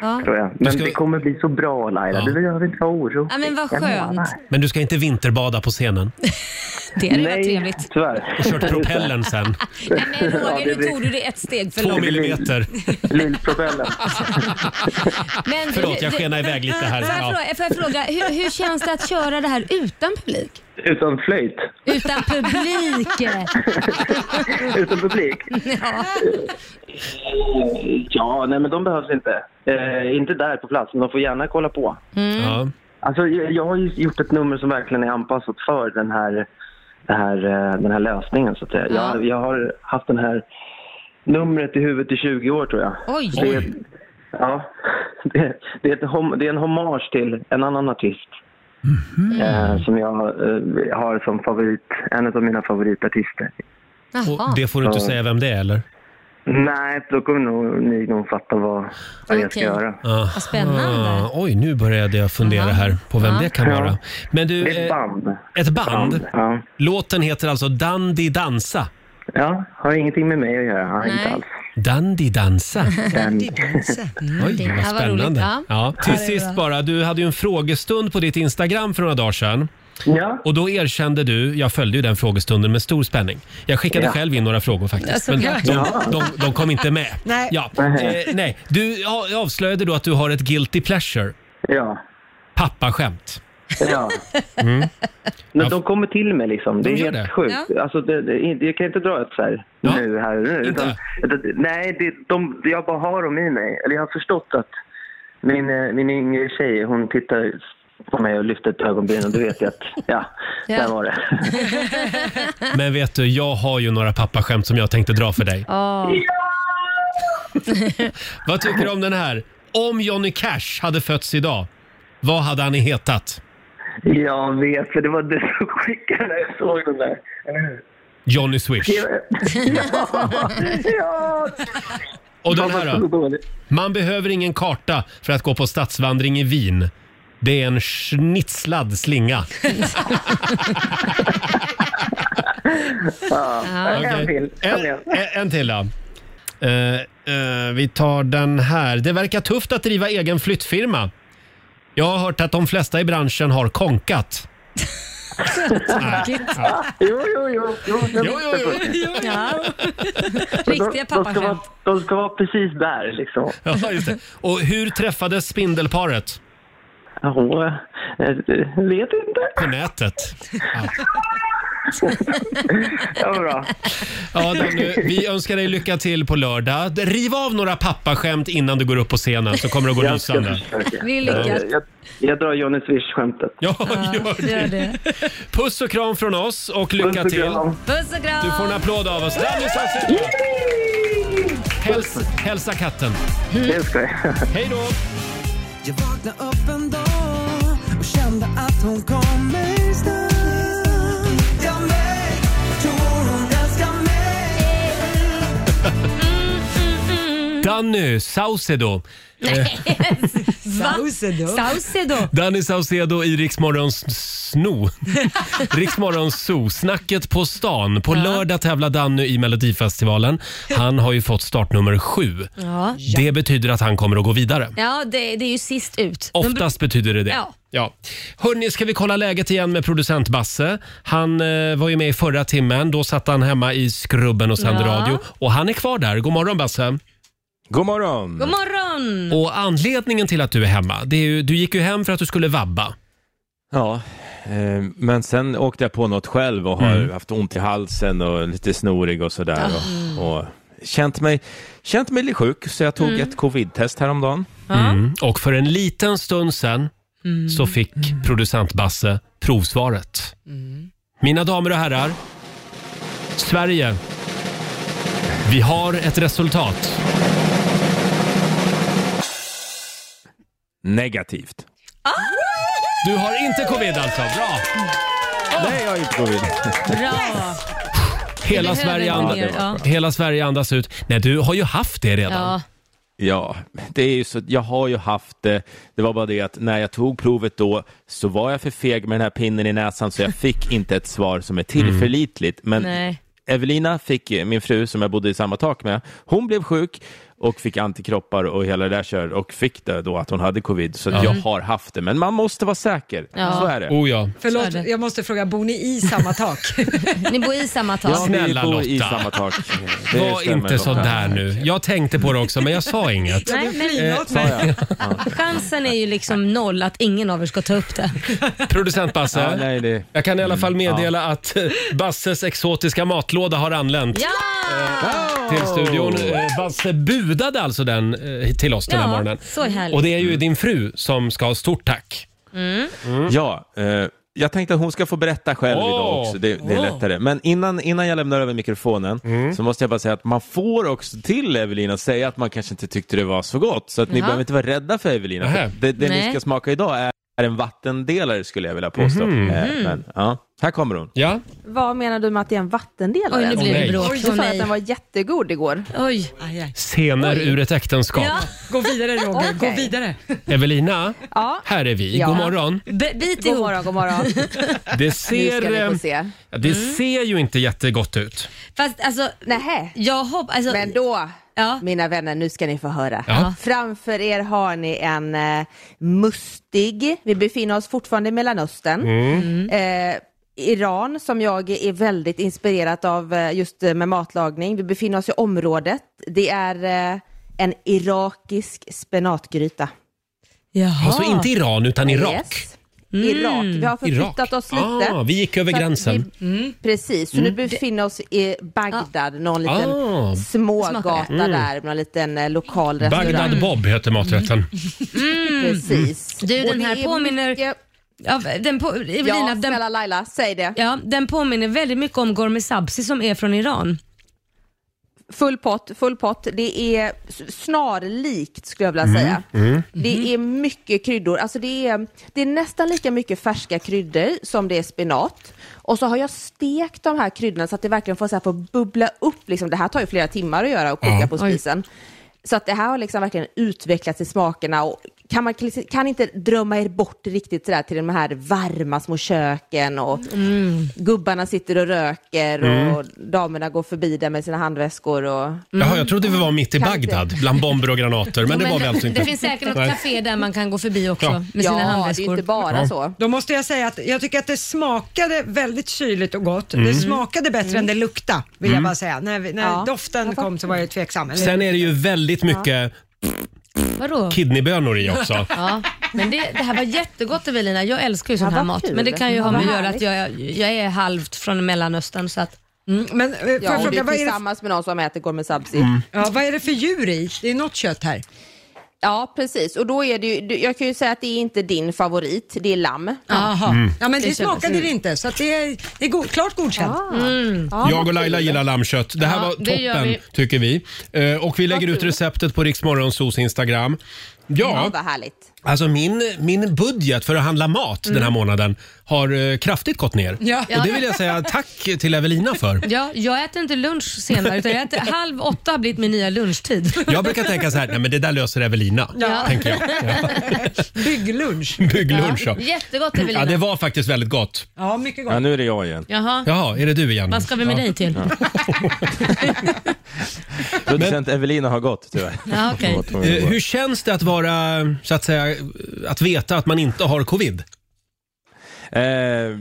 Ja. tror jag. Du Men ska- det kommer bli så bra, Laila. Ja. Du behöver inte ha oro. Ja, men vad Jag menar. skönt. Men du ska inte vinterbada på scenen Det hade varit Nej, trevligt. tyvärr. och kört propellen sen. Nej, men Ja, Roger, det nu blir- tog du det ett steg för Två långt. millimeter. Lillpropellen. Men, Förlåt, jag du- skenar iväg lite här. Får jag Ja. fråga, eh, får jag fråga hur, hur känns det att köra det här utan publik? Utan flöjt. Utan publik? Utan publik. Ja. Eh, Ja, nej men de behövs inte. Eh, inte där på plats, men de får gärna kolla på. Mm. Ja. Alltså, jag, jag har ju gjort ett nummer som verkligen är anpassat för den här, det här, eh, den här lösningen, så att säga. Ja. Jag, jag har haft det här numret i huvudet i 20 år, tror jag. Oj. Det, är- ja, det, det, är ett, hom- det är en hommage till en annan artist. Mhm. Eh, som jag eh, har som favorit, en av mina favoritartister. Och Jaha. det får du inte Ja. säga vem det är eller? Nej, då kommer nog, ni nog fatta vad, vad jag ska Okej. göra. Aha. Vad spännande. Ah, Oj, nu började jag fundera Aha. här på vem Ja. det kan Ja. vara. Men du, Det är ett eh, band. ett band? Ja. Låten heter alltså Dandy Dansa. ja, har ingenting med mig att göra. Ja, inte Nej. alls. Dandy Dansa. Den, Oj, vad Ja, vad roligt. spännande. Ja. Ja. Till sist bara, du hade ju en frågestund på ditt Instagram för några dagar sedan. ja, Och då erkände du, jag följde ju den frågestunden med stor spänning. Jag skickade Ja. själv in några frågor faktiskt, men de, Ja. de, de kom inte med. Nej. Ja. Nej. Eh, nej. Du a- avslöjade då att du har ett guilty pleasure, ja, pappaskämt. ja. Men de kommer till mig liksom. Det Mm. De är gör helt det. sjukt. Alltså, det, det, jag kan inte dra ett så här Ja. nu här och nu. Inte? Utan, utan- nej, det, de, jag bara har dem i mig. Eller jag har förstått att min, eh, min yngre tjej, hon tittar på mig och lyfter ett ögonbryn och då vet jag att, ja, Ja. där var det. Men vet du, jag har ju några pappaskämt som jag tänkte dra för dig. Ja. Vad tycker du om den här? Om Johnny Cash hade fötts idag, vad hade han hetat? Jag vet, för det var du som skickade när jag såg den där. Eller hur? Johnny Swish. Ja! Och den Den var här så då? dålig. Man behöver ingen karta för att gå på stadsvandring i Wien. Det är en schnitslad slinga. Okej. En till. En, Kom igen. en- en till då. Eh, eh, vi tar den här. Det verkar tufft att driva egen flyttfirma. Jag har hört att de flesta i branschen har konkat. Jo, jo, jo. jo, jag Jo, jo, visste jo, det. jo. Ja. Men de- Riktiga de ska vara- pappaskämt. De ska vara precis där liksom. Ja, just det. Och hur träffades spindelparet? Ja, hon, eh, eh, vet inte. På nätet. Ja. Ja, bra. Ja, Danny, vi önskar dig lycka till på lördag. Riv av några pappaskämt innan du går upp på scenen så kommer det att gå Jag ska lysande. försöka. Vi lyckas. Jag, jag, jag drar Johnny Swish-skämtet. Ja, Ja, gör gör det. det. Puss och kram från oss och lycka Puss och till. kram. Puss och kram! Du får en applåd av oss. Danny Saucedo! Häls, hälsa katten. Det ska jag. Hej då! Jag vaknade upp en dag och kände att hon kom mig snabbt. Jag mig, tror hon älskar mig. Danny Saucedo. Va? Saucedo. Saucedo. Danny Saucedo i Riksmorgons sno. Riksmorgons zoo, snacket på stan. På lördag tävlar Danny i Melodifestivalen. Han har ju fått startnummer sju. Ja, Det betyder att han kommer att gå vidare. ja det, det är ju sist ut. De bru- Oftast betyder det det. Ja. Ja. Hörni, ska vi kolla läget igen med producent Basse? Han eh, var ju med i förra timmen. Då satt han hemma i skrubben och sände Ja. radio. Och han är kvar där. God morgon Basse. God morgon! God morgon! Och anledningen till att du är hemma, det är ju, du gick ju hem för att du skulle vabba. Ja, eh, men sen åkte jag på något själv och har haft ont i halsen och lite snorig och sådär. Och, och känt, mig, känt mig lite sjuk, så jag tog Mm. ett covid-test häromdagen. Mm. Och för en liten stund sen Mm. så fick producent Basse provsvaret. Mm. Mina damer och herrar, Sverige. Vi har ett resultat. Negativt. Ah, Du har inte covid alltså. Bra! Mm. Nej, jag har inte covid. Bra! Hela Vi behöver Sverige, inte and- mer, ja. hela Sverige andas ut. Nej, du har ju haft det redan. Ja. Ja, det är ju så, jag har ju haft det. Det var bara det att när jag tog provet då så var jag för feg med den här pinnen i näsan så jag fick inte ett svar som är tillförlitligt. Men Nej. Evelina fick, min fru som jag bodde i samma tak med, hon blev sjuk och fick antikroppar och hela det där kör och fick det då att hon hade covid. Så jag har haft det, men man måste vara säker. Ja. Så är det. Oh ja. Så är det. Förlåt, jag måste fråga, bor ni i samma tak? Ni bor i samma tak. Ja, vi Snälla bor i Lotta. samma tak. Det Var stämmer, inte så Lotta. där nu. Jag tänkte på det också, men jag sa inget. Eh, Nej, men Förlåt Sa mig. jag? chansen är ju liksom noll att ingen av er ska ta upp det. Producent Ja, Basse. nej, det... Jag kan i alla fall meddela att eh, Basses exotiska matlåda har anlänt Ja! till studion. Eh, Basse budade alltså den eh, till oss den här Ja, morgonen. så härligt. Och det är ju din fru som ska ha stort tack. Ja, eh, jag tänkte att hon ska få berätta själv Åh. idag också, det, det är lättare. Men innan, innan jag lämnar över mikrofonen Mm. så måste jag bara säga att man får också till Evelina säga att man kanske inte tyckte det var så gott. Så att ni Jaha. behöver inte vara rädda för Evelina. Nähä. Det, det ni Nej. ska smaka idag är, är en vattendelare skulle jag vilja påstå. Eh, men, ja. Här kommer hon. Mhm. Ja, Vad menar du med att det är en vattendelare? Oj, nu blir nej. det bråk. Jag sa Åh, att nej. den var jättegod igår. Oj. Aj, aj. scener ur ett äktenskap. Ja. Gå vidare Roger, gå Okej. vidare. Evelina, Ja. här är vi. Ja. God morgon. B- bit God ihop. morgon, god morgon. Det Nu ser, ska ni eh, få se. ja, det ser ju inte jättegott ut. Fast alltså, Nähä. jag hoppas... Alltså, Men då, Ja. mina vänner, nu ska ni få höra. Ja. Framför er har ni en eh, mustig, vi befinner oss fortfarande i Mellanöstern, eh, Iran som jag är väldigt inspirerad av eh, just eh, med matlagning. Vi befinner oss i området. Det är eh, en irakisk spenatgryta. Jaha. Alltså inte Iran utan Irak. Yes. Irak. Vi har Irak. förflyttat oss lite. Ah, vi gick över Så att gränsen. Mm. Vi, Mm. Precis, så nu befinner vi oss i Bagdad, någon liten Ah. Mm. smågata där, någon liten eh, lokal restaurang. Bagdad Bob heter maträtten. Precis. Mm. Du, Och den det här är påminner- Mycket... Ja, den, på, Evelina, Ja, den, snälla Laila, säg det. ja, den påminner väldigt mycket om Gormi Sabzi som är från Iran. Full pott, full pott. Det är s- snarlikt skulle jag vilja Mm. säga. Det är mycket kryddor. Alltså det, är, det är nästan lika mycket färska kryddor som det är spenat. Och så har jag stekt de här kryddorna så att det verkligen får, så här, får bubbla upp. Liksom. Det här tar ju flera timmar att göra och koka Ja. på spisen. Så att det här har liksom verkligen utvecklats i smakerna. Och kan, man, kan inte drömma er bort riktigt sådär till de här varma små köken och gubbarna sitter och röker och damerna går förbi där med sina handväskor. Och... Jaha, jag trodde vi var mitt i Kanske. Bagdad bland bomber och granater, men det var vi alltså inte. Det finns säkert något Nej. café där man kan gå förbi också Ja. med sina ja, det är handväskor. inte bara Ja. så. Då måste jag säga att jag tycker att det smakade väldigt kyligt och gott. Mm. Det smakade bättre än det lukta vill jag bara säga. När, vi, när Ja. doften kom så var jag tveksam. Eller, Sen är det ju väldigt mycket Vadå? Kidneybönor i också. Ja, men det, det här var jättegott Evelina. Jag älskar ju sån Ja, här vad mat. kul. Men det kan ju ha Vad med att göra att härligt. jag, jag är halvt från Mellanöstern. Så att, Mm. Men, eh, Ja, och du är vad är det- tillsammans med någon som äter gourmet sabzi. Mm. Ja, vad är det för djur i? Det är något kött här. Ja, precis. Och då är det ju, du- jag kan ju säga att det är inte din favorit, det är lamm. Jaha. Mm. Ja, men det, Det kändes- smakade det inte, så att det är, det är go- klart godkänt. Ah. Mm. Mm. Jag och Laila gillar lammkött. Det här Ja, var det gör toppen, vi. tycker vi. Eh, Och vi lägger ut receptet på Riksmorgonsos Instagram. Ja, Ja, vad härligt. alltså min, min budget för att handla mat den här månaden har eh, kraftigt gått ner. Ja. Och det vill jag säga tack till Evelina för. ja, jag äter inte lunch senare, utan jag äter, halv åtta har blivit min nya lunchtid. Jag brukar tänka så här, nej men det där löser Evelina, Ja. tänker jag. Bygglunch. Bygglunch ja. Jättegott Evelina. Ja, det var faktiskt väldigt gott. Ja, mycket Ja, nu är det jag igen. Jaha. Jaha, är det du igen? Vad ska vi med ja. dig till? Producent Evelina har gått tyvärr. Ja, okej. Hon var tvungen att Eh, gå. Hur känns det att vara, så att säga, att veta att man inte har covid? Eh,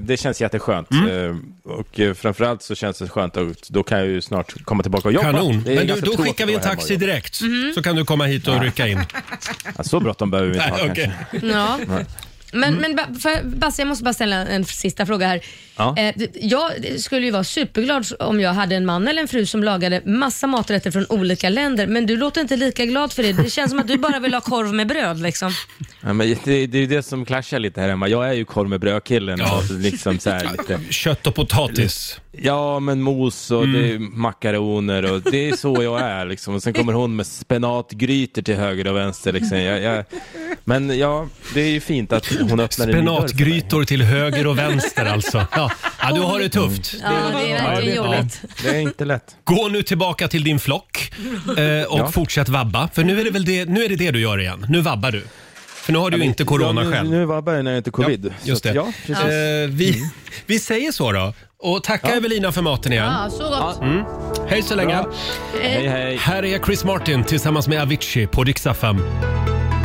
det känns jätteskönt. Mm. Eh, och eh, framförallt så känns det skönt att då kan jag ju snart komma tillbaka och jobba. Kanon. Det är Men du, ganska då tråkigt skickar vi en att vara hemma taxi och jobba. direkt. Så kan du komma hit och Ja. rycka in. Ja, så bråttom behöver vi inte ha Nej, kanske. Ja. Nej. Men, men ba- för, Basse, jag måste bara ställa en sista fråga här. Ja. Eh, d- jag skulle ju vara superglad om jag hade en man eller en fru som lagade massa maträtter från olika länder, men du låter inte lika glad för det. Det känns som att du bara vill ha korv med bröd. Liksom. Ja, men det, det är ju det som clashar lite här hemma. Jag är ju korv med bröd-killen. Ja. Liksom så här lite. Kött och potatis. Ja, men mos och det är Mm. makaroner och det är så jag är liksom. Och sen kommer hon med spenatgrytor till höger och vänster liksom. jag, jag, Men ja, det är ju fint att hon öppnar en ny dörr för mig. Spenatgrytor till höger och vänster alltså. Ja, ja du har det tufft. Ja, det är verkligen jobbigt. Det är inte lätt. Gå nu tillbaka till din flock eh, och Ja. fortsätt vabba. För nu är, det väl det, nu är det det du gör igen. Nu vabbar du. För nu har du Ja, men- inte corona ja, nu, själv. Nu vabbar jag när jag inte covid. Ja, just Så det. att, ja, precis. Mm. Eh, vi, vi säger så då. Och tacka Evelina för maten igen. Ja, så gott. Mm. Hej så länge. Hej, Här är Chris Martin tillsammans med Avicii på Rix FM.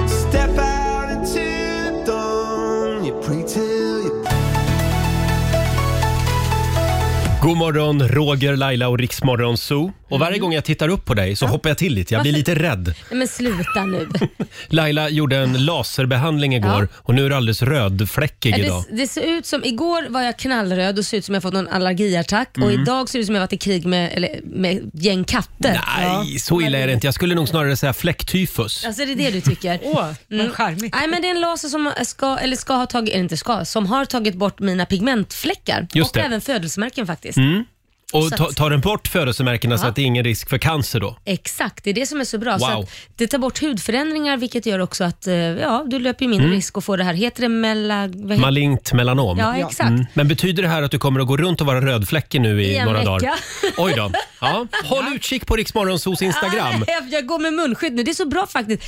Step out into dawn, you pray till you God morgon, Roger, Laila och Riksmorgon Zoo. Och varje gång jag tittar upp på dig så hoppar jag till lite. Jag blir lite Mm. Varför? rädd. Nej, men sluta nu. Laila gjorde en laserbehandling igår och nu är du alldeles rödfläckig idag. Eh, Det, det ser ut som, igår var jag knallröd och ser ut som jag fått någon allergiattack och Mm. idag ser det ut som jag varit i krig med, eller, med ett gäng katter. Ja. Nej, så illa är det inte. Jag skulle nog snarare säga fläcktyfus. Alltså det är det du tycker? Åh, mm. charmigt. Nej men det är en laser som ska, eller ska ha tagit, eller inte ska, som har tagit bort mina pigmentfläckar. Just och det. även födelsemärken faktiskt. Mm. Så Och att- ta, tar den bort födelsemärkena så Ja. att det är ingen risk för cancer då? Exakt, det är det som är så bra. Så Wow. att det tar bort hudförändringar vilket gör också att eh, ja, du löper ju mindre Mm. risk att få det här, heter det mela... vad heter- Malignt melanom. Mm. Ja, exakt. Men betyder det här att du kommer att gå runt och vara rödfläckig nu i, I en några vecka. dagar? Oj då. Ja. Håll utkik på Riksmorgonsos Instagram. Ah, nej, jag går med munskydd nu, det är så bra faktiskt.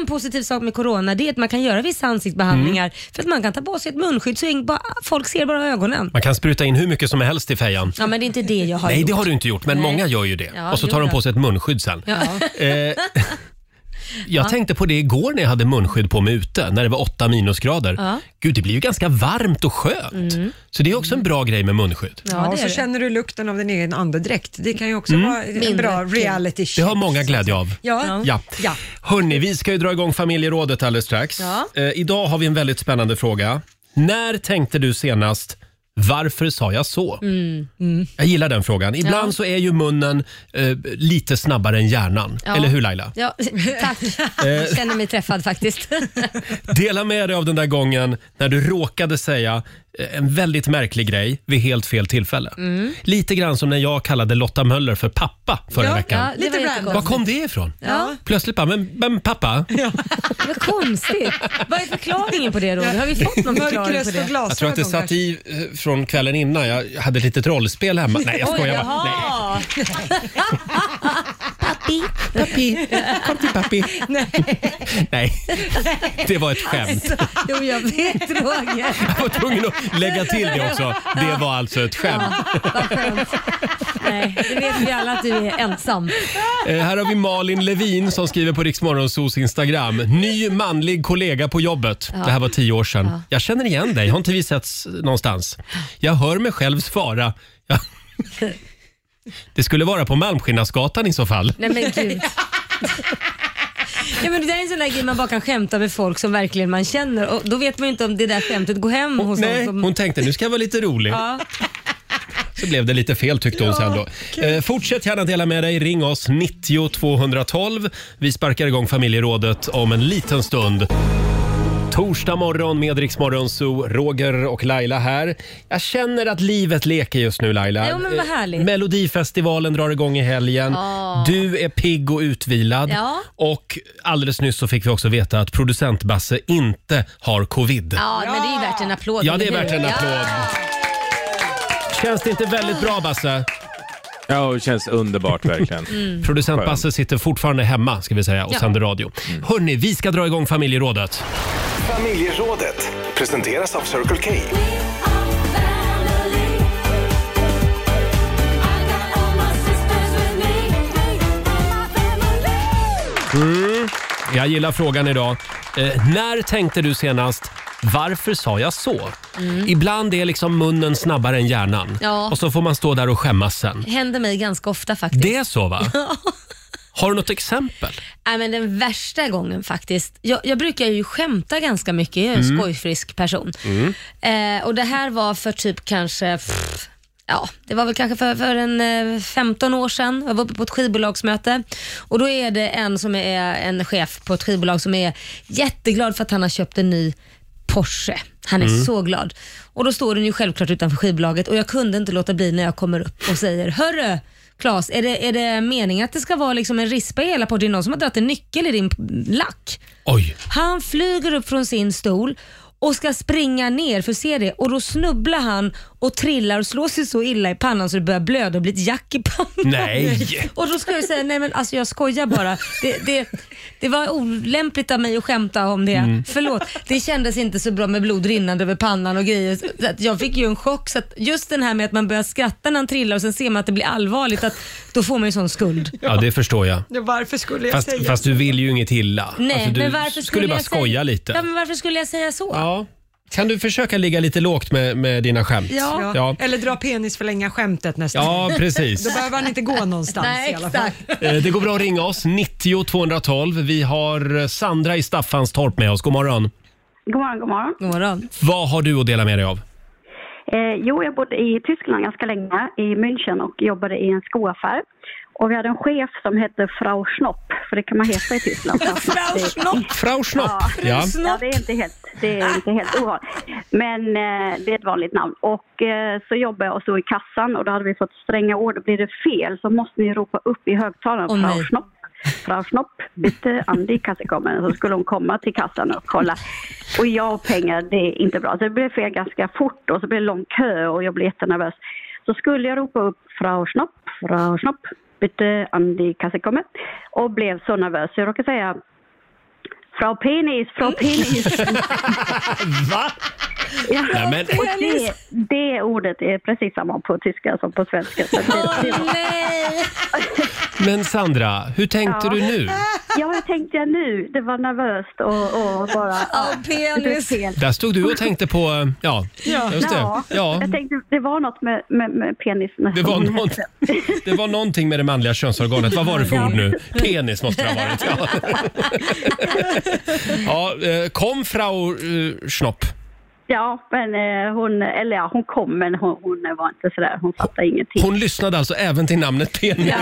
En positiv sak med corona det är att man kan göra vissa ansiktsbehandlingar Mm. för att man kan ta på sig ett munskydd så ingen- bara, folk ser bara ögonen. Man kan spruta in hur mycket som helst i fejan. Ja men det är inte det jag har Nej, gjort. det har du inte gjort, men Nej. många gör ju det. Ja, och så tar jo de då. på sig ett munskydd sen. Ja. Eh, jag Ja. tänkte på det igår när jag hade munskydd på mig ute, när det var åtta minusgrader. Ja. Gud, det blir ju ganska varmt och skönt. Mm. Så det är också en bra grej med munskydd. Ja, och så känner du lukten av din egen andedräkt. Det kan ju också Mm. vara en Mindre bra kul. reality Det show. har många glädje av. Ja. Ja. Ja. Hörni, vi ska ju dra igång familjerådet alldeles strax. Ja. Eh, idag har vi en väldigt spännande fråga. När tänkte du senast “Varför sa jag så?” Mm. Mm. Jag gillar den frågan. Ibland Ja. så är ju munnen eh, lite snabbare än hjärnan. Ja. Eller hur Laila? Ja, tack. Jag känner mig träffad faktiskt. Dela med dig av den där gången när du råkade säga eh, en väldigt märklig grej vid helt fel tillfälle. Mm. Lite grann som när jag kallade Lotta Möller för pappa förra Ja, veckan. ja, det var Lite jättekonstigt. Var kom det ifrån? Ja. Plötsligt bara, men, men pappa? Vad konstigt. Vad är förklaringen på det Roger? Har vi fått någon förklaring på det? Jag tror att det satt i eh, från kvällen innan. Jag hade ett litet rollspel hemma. Nej, jag Oj, skojar bara. Nej. jaha. Pappi, pappi, kom till pappi. Nej, det var ett skämt. Alltså, Jo, jag vet Roger. Jag var tvungen att lägga till det också. Det var alltså ett skämt. Nej, det vet vi alla att du är ensam. Eh, här har vi Malin Levin som skriver på Riksmorgonsos Instagram. Ny manlig kollega på jobbet. Ja. Det här var tio år sedan. Ja. Jag känner igen dig. Har inte vi setts någonstans? Jag hör mig själv svara. Ja. Det skulle vara på Malmskillnadsgatan i så fall. Nej men gud. Ja, men det där är en sån där grej man bara kan skämta med folk som verkligen man känner och då vet man ju inte om det där skämtet går hem hos någon Nej, som... hon tänkte nu ska jag vara lite rolig. Ja. Så blev det lite fel tyckte hon sen då. Eh, fortsätt gärna dela med dig. Ring oss 90 212. Vi sparkar igång familjerådet om en liten stund. Torsdag morgon med Rix Morgon Zoo, Roger och Laila här. Jag känner att livet leker just nu Laila. Jo, men vad Eh, härligt. Melodifestivalen drar igång i helgen. Ja. Du är pigg och utvilad. Ja. Och alldeles nyss så fick vi också veta att producent Basse inte har covid. Ja, men det är ju värt en applåd. Ja, det är eller hur? värt en applåd. Känns det inte väldigt bra Basse? Ja, det känns underbart verkligen. Mm. Producent Basse sitter fortfarande hemma ska vi säga och Ja. sänder radio. Mm. Hörni, vi ska dra igång familjerådet. Familjerådet presenteras av Circle K. Mm. Jag gillar frågan idag. Eh, när tänkte du senast “Varför sa jag så?” Mm. Ibland är liksom munnen snabbare än hjärnan Ja. och så får man stå där och skämmas sen. Händer mig ganska ofta faktiskt. Det är så va? Har du något exempel? Nej, Äh, men den värsta gången faktiskt. Jag, jag brukar ju skämta ganska mycket, jag är en Mm. skojfrisk person. Eh, och Det här var för typ kanske, pff, ja det var väl kanske för, för en eh, 15 år sedan. Jag var uppe på ett skivbolagsmöte och då är det en som är en chef på ett skivbolag som är jätteglad för att han har köpt en ny Porsche. Han är Mm. så glad. Och Då står den ju självklart utanför skivbolaget och jag kunde inte låta bli när jag kommer upp och säger Hörru Claes, är det, är det meningen att det ska vara liksom en rispa i hela Porsche? Det är någon som har dragit en nyckel i din lack. Oj. Han flyger upp från sin stol och ska springa ner för att se det och då snubblar han och trillar och slår sig så illa i pannan så det börjar blöda och blir ett jack i pannan. Nej. Och då ska jag säga, nej men alltså jag skojar bara. Det, det, det var olämpligt av mig att skämta om det. Mm. Förlåt. Det kändes inte så bra med blod rinnande över pannan och grejer. Så att jag fick ju en chock. Så att just den här med att man börjar skratta när han trillar och sen ser man att det blir allvarligt, att då får man ju sån skuld. Ja, det förstår jag. varför skulle Fast, fast du vill ju inget illa. Nej, Alltså, du men varför skulle, skulle bara jag skoja säga, lite. Ja, men varför skulle jag säga så? Ja. Kan du försöka ligga lite lågt med, med dina skämt? Ja. Ja. Eller dra penisförlänga skämtet nästa Ja, gång. precis. Då behöver han inte gå någonstans Nej, i alla fall. Eh, Det går bra att ringa oss, 90 212. Vi har Sandra i Staffanstorp med oss. God morgon. God morgon, god morgon. God morgon. Vad har du att dela med dig av? Eh, jo, jag bodde i Tyskland ganska länge, i München och jobbade i en skoaffär. Och vi hade en chef som hette Frau Schnopp, för det kan man heta i Tyskland. Frau Schnopp? Frau Schnopp, ja. Ja, ja det är inte helt, det är inte helt ovanligt. Men eh, det är ett vanligt namn. Och eh, så jobbade jag och stod i kassan och då hade vi fått stränga ord. Då blir det fel så måste ni ropa upp i högtalaren, Åh, Frau nej. Schnopp. Frau Schnopp, bitte an die Kasse kommen. Så skulle hon komma till kassan och kolla. Och jag och pengar, det är inte bra. Så det blev fel ganska fort och så blev det lång kö och jag blev jättenervös. Så skulle jag ropa upp Frau Schnopp, Frau Schnopp, bitte an die Kasse kommen. Och blev så nervös så jag råkade säga Frau Penis, Mm. Frau Penis. Va? Ja. Nej, men- Och det, det ordet är precis samma på tyska som på svenska. Så det, det var... Men Sandra, hur tänkte Ja. du nu? Ja, hur tänkte jag nu? Det var nervöst och, och bara... Ja, penis. Där stod du och tänkte på, eh, ja, just det. Ja, Jag tänkte det var något med, med, med penisen. Det var något. det var någonting med det manliga könsorganet. Vad var det för ord nu? Penis måste det ha varit. Ja. Ja, eh, kom Frau eh, Schnopp. Ja, men eh, hon, eller ja, hon kom men hon, hon var inte sådär, hon fattade ingenting. Hon lyssnade alltså även till namnet penis.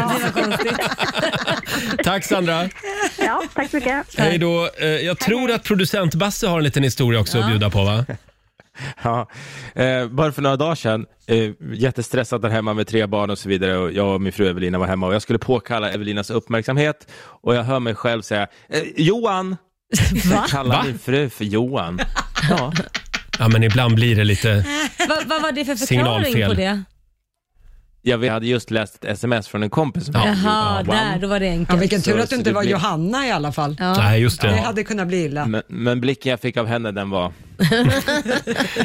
Tack Sandra. Ja, tack så mycket. Hej då. Eh, Jag tror att producent Basse har en liten historia också att bjuda på va? Ja. Eh, bara för några dagar sedan, eh, jättestressad där hemma med tre barn och så vidare. Och jag och min fru Evelina var hemma och jag skulle påkalla Evelinas uppmärksamhet och jag hör mig själv säga eh, Johan! Jag kallar Va? min fru för Johan. Ja. ja, men ibland blir det lite... Vad vad var det för förklaring Signalfel. på det? Ja, vi hade just läst ett sms från en kompis. som hade Jaha, Johan. där, då var det enkelt. Ja, vilken tur Så- att så du inte det var blir- Johanna i alla fall. Nej, just det. Det hade kunnat bli illa. Men, men blicken jag fick av henne, den var...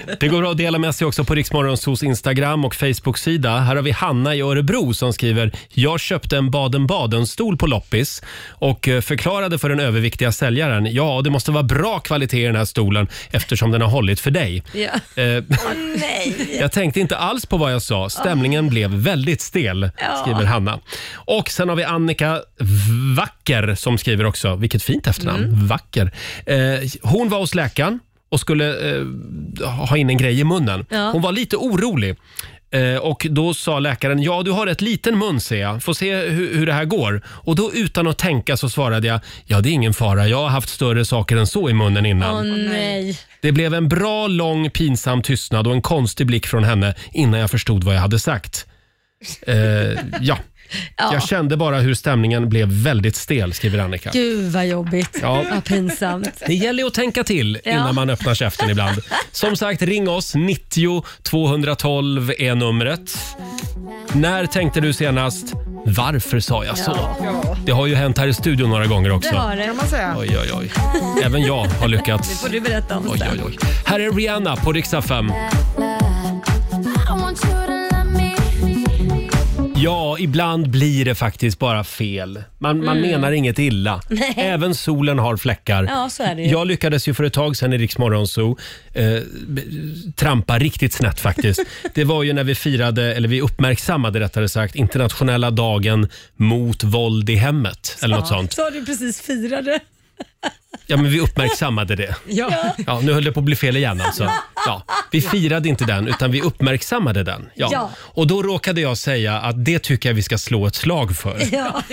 Det går bra att dela med sig också på Riksmorgonsos Instagram och Facebook-sida. Här har vi Hanna i Örebro som skriver “Jag köpte en Baden-Baden-stol på loppis och eh, förklarade för den överviktiga säljaren ja, det måste vara bra kvalitet i den här stolen eftersom den har hållit för dig. Ja. Eh, nej. Jag tänkte inte alls på vad jag sa. Stämningen blev väldigt stel, Ja. skriver Hanna. Och sen har vi Annika Wacker som skriver också. Vilket fint efternamn. Mm. Wacker. Eh, hon var hos läkaren och skulle eh, ha in en grej i munnen. Ja. Hon var lite orolig. Eh, Och Då sa läkaren, ja du har ett liten mun ser jag, får se hur, hur det här går. Och då utan att tänka så svarade jag, ja det är ingen fara, jag har haft större saker än så i munnen innan. Åh nej. Det blev en bra, lång, pinsam tystnad och en konstig blick från henne innan jag förstod vad jag hade sagt. Eh, ja. Ja. Jag kände bara hur stämningen blev väldigt stel, skriver Annika. Gud vad jobbigt. Ja. Vad pinsamt. Det gäller ju att tänka till Ja. innan man öppnar käften ibland. Som sagt, ring oss. 90 212 är numret. När tänkte du senast “Varför sa jag så?” Det har ju hänt här i studion några gånger också. Det har det. Kan man säga. Oj, oj, oj. Även jag har lyckats. Det får du berätta om Oj, sen. oj, oj. Här är Rihanna på Rix FM. Ja, ibland blir det faktiskt bara fel. Man, man Mm. menar inget illa. Nej. Även solen har fläckar. Ja, så är det ju. Jag lyckades ju för ett tag sedan i Rix Morgon Zoo eh, b- trampa riktigt snett faktiskt. det var ju när vi firade, eller vi uppmärksammade rättare sagt, internationella dagen mot våld i hemmet. Eller något sånt. Så du precis firade. Ja, men vi uppmärksammade det. Ja. Ja, nu höll det på att bli fel igen alltså. Ja, vi firade inte den, utan vi uppmärksammade den. Ja. Ja. Och då råkade jag säga att det tycker jag vi ska slå ett slag för. Ja.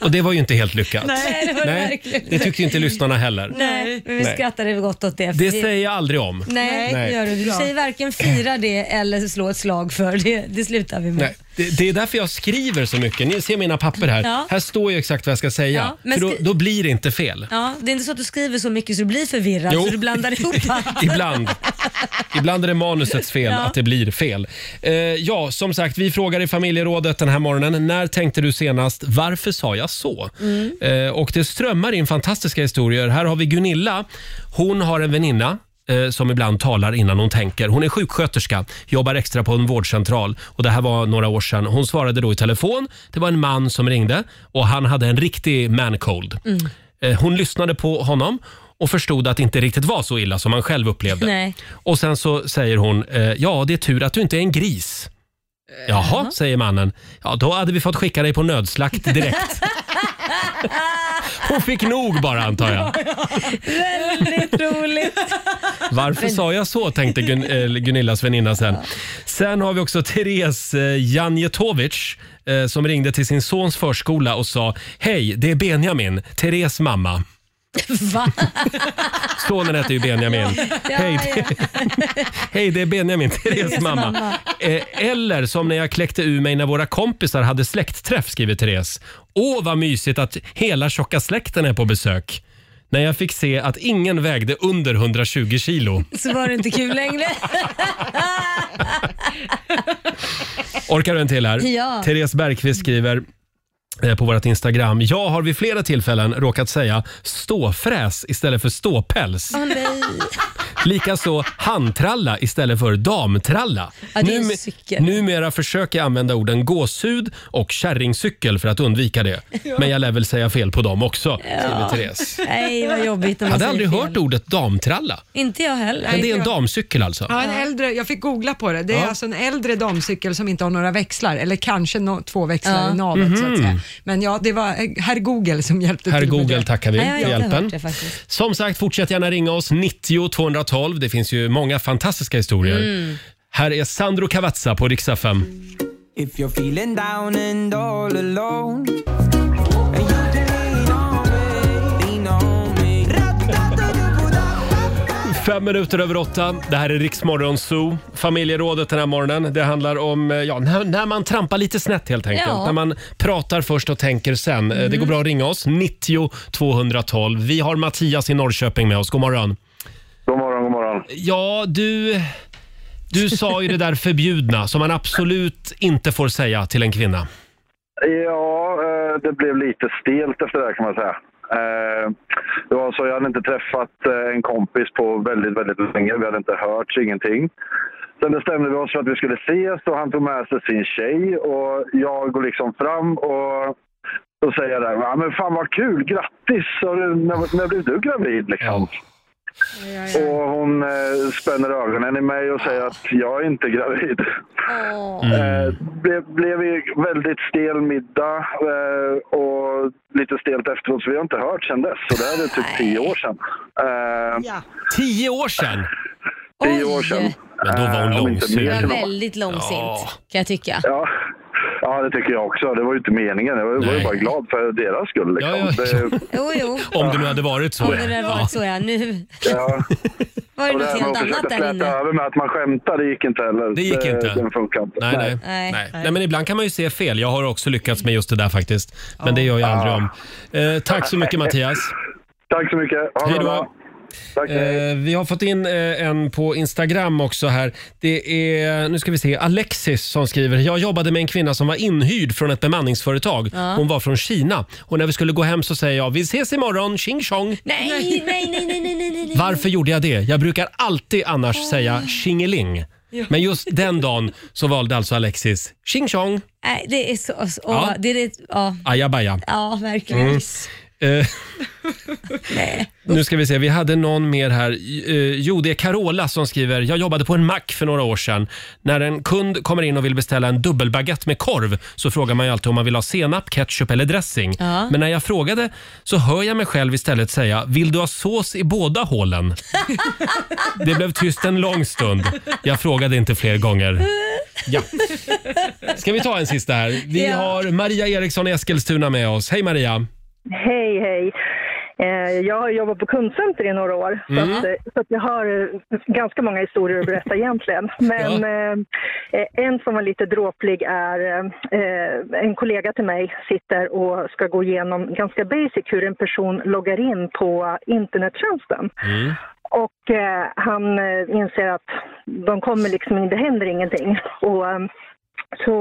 Och det var ju inte helt lyckat. Nej, det var det verkligen det inte. tyckte ju inte lyssnarna heller. Nej, men vi Nej. skrattade gott åt det. Det Vi- säger jag aldrig om. Nej, det gör du. Du Bra. säger varken fira det eller slå ett slag för det. Det slutar vi med. Nej, det, det är därför jag skriver så mycket. Ni ser mina papper här. Ja. Här står ju exakt vad jag ska säga. Ja, men för då, skri- då blir det inte fel. Ja, det är inte så att du skriver så mycket så du blir förvirrad Jo. så du blandar ihop allt. Ibland. Ibland är det manusets fel Ja. att det blir fel. Eh, ja, som sagt, vi frågar i familjerådet den här morgonen. När tänkte du senast? Varför sa jag så? Mm. Eh, och det strömmar in fantastiska historier. Här har vi Gunilla. Hon har en väninna eh, som ibland talar innan hon tänker. Hon är sjuksköterska, jobbar extra på en vårdcentral. Och Det här var några år sedan. Hon svarade då i telefon. Det var en man som ringde och han hade en riktig man cold. Mm. Eh, Hon lyssnade på honom och förstod att det inte riktigt var så illa som man själv upplevde. Nej. Och sen så säger hon, eh, ja det är tur att du inte är en gris. Jaha, säger mannen. Ja, då hade vi fått skicka dig på nödslakt direkt. Hon fick nog bara antar jag. Väldigt roligt. Varför sa jag så, tänkte Gun eh, Gunillas väninna sen. Sen har vi också Therese eh, Janjetovic eh, som ringde till sin sons förskola och sa, hej, det är Benjamin, Therese mamma. Va? Sonen heter ju Benjamin. Hej, det, hej, det är Benjamin, Therese Therese mamma. mamma. Eh, Eller som när jag kläckte ur mig när våra kompisar hade släktträff, skriver Therese. Åh, vad mysigt att hela tjocka släkten är på besök. När jag fick se att ingen vägde under 120 kilo. Så var det inte kul längre. Orkar du en till här? Ja. Therese Bergqvist skriver eh, på vårt Instagram. Jag har vid flera tillfällen råkat säga ståfräs istället för ståpäls. Åh nej. Likaså handtralla istället för damtralla. Ja, det är en Num- cykel. numera försöker jag använda orden gåshud och kärringcykel för att undvika det. Ja. Men jag lär väl säga fel på dem också, skriver Ja. Therese. Nej, vad jobbigt. när Jag man hade säger aldrig fel. hört ordet damtralla. Inte jag heller. Men det är en damcykel alltså? Ja, en äldre, jag fick googla på det. Det är Ja. alltså en äldre damcykel som inte har några växlar, eller kanske nå- två växlar Ja. i navet så Mhm. att säga. Men ja, det var eh, herr Google som hjälpte Herr till med Google det. tackar vi för hjälpen. Som sagt, fortsätt gärna ringa oss. 90 212. Det finns ju många fantastiska historier. Mm. Här är Sandro Cavazza på riksdag 5. If you're feeling down and all alone Fem minuter över åtta. Det här är Riksmorgon Zoo. Familjerådet den här morgonen. Det handlar om eh, ja, när, när man trampar lite snett helt enkelt. Ja. Mm. När man pratar först och tänker sen. Eh, Det går bra att ringa oss. 90 212. Vi har Mattias i Norrköping med oss. God morgon. God morgon, god morgon. Ja, du... Du sa ju det där förbjudna som man absolut inte får säga till en kvinna. Ja, eh, det blev lite stelt efter det här kan man säga. Eh, Det var så, jag hade inte träffat eh, en kompis på väldigt, väldigt länge. Vi hade inte hört ingenting. Sen bestämde vi oss för att vi skulle ses och han tog med sig sin tjej och jag går liksom fram och då säger jag där, "Ja, men fan vad kul, grattis! Har du- När, när blev du gravid liksom? Och hon eh, spänner ögonen i mig och säger att jag är inte gravid. Eh, det blev ju väldigt stel middag eh, och lite stelt efteråt, så vi har inte hört sedan dess. Så det här är typ tio år sedan. Eh, Tio år sedan? Tio år sedan. Men då var hon Eh, om inte långsint. mer Det till var och med. väldigt långsint Ja. kan jag tycka. Ja. Ja, det tycker jag också. Det var ju inte meningen. Jag var var ju bara glad för deras skull. Liksom. Det, Jo, jo. Om det nu hade varit så. Om det där varit så ja. Nu ja. var det något Och det här med helt att annat försöka där släta inne. över med att man skämtar, det gick inte heller. Det gick inte. Den funkar inte. Nej, nej. Nej. Nej. men ibland kan man ju se fel. Jag har också lyckats med just det där faktiskt. Men det gör jag aldrig om. Eh, tack så mycket Mattias. Tack så mycket. Ha det Hej då. bra. Tack, hej. Eh, vi har fått in eh, en på Instagram också här. Det är, nu ska vi se, Alexis som skriver. Jag jobbade med en kvinna som var inhyrd från ett bemanningsföretag. Ja. Hon var från Kina. Och när vi skulle gå hem så säger jag, vi ses imorgon, tjing tjong. Nej, nej, nej, nej, nej, nej, nej. Varför gjorde jag det? Jag brukar alltid annars säga tjingeling. Ja. Men just den dagen så valde alltså Alexis tjing tjong, Nej, det är så... så Ja. det är det, ja. ajabaja. ja, verkligen. Mm. Eh, nu ska vi se, vi hade någon mer här. Eh, Jo, det är Carola som skriver. Jag jobbade på en mack för några år sedan. När en kund kommer in och vill beställa en dubbelbaguette med korv så frågar man ju alltid om man vill ha senap, ketchup eller dressing. Ja. Men när jag frågade så hör jag mig själv istället säga “Vill du ha sås i båda hålen?” Det blev tyst en lång stund. Jag frågade inte fler gånger. Ja. Ska vi ta en sista här? Vi Ja. har Maria Eriksson i Eskilstuna med oss. Hej Maria! Hej, hej. Eh, Jag har jobbat på kundcenter i några år, Mm. så, att, eh, så att jag har eh, ganska många historier att berätta egentligen. Men eh, eh, en som var lite dråplig är eh, en kollega till mig sitter och ska gå igenom ganska basic hur en person loggar in på internettjänsten. Mm. Och eh, han eh, inser att de kommer liksom in, det händer ingenting. Och, eh, så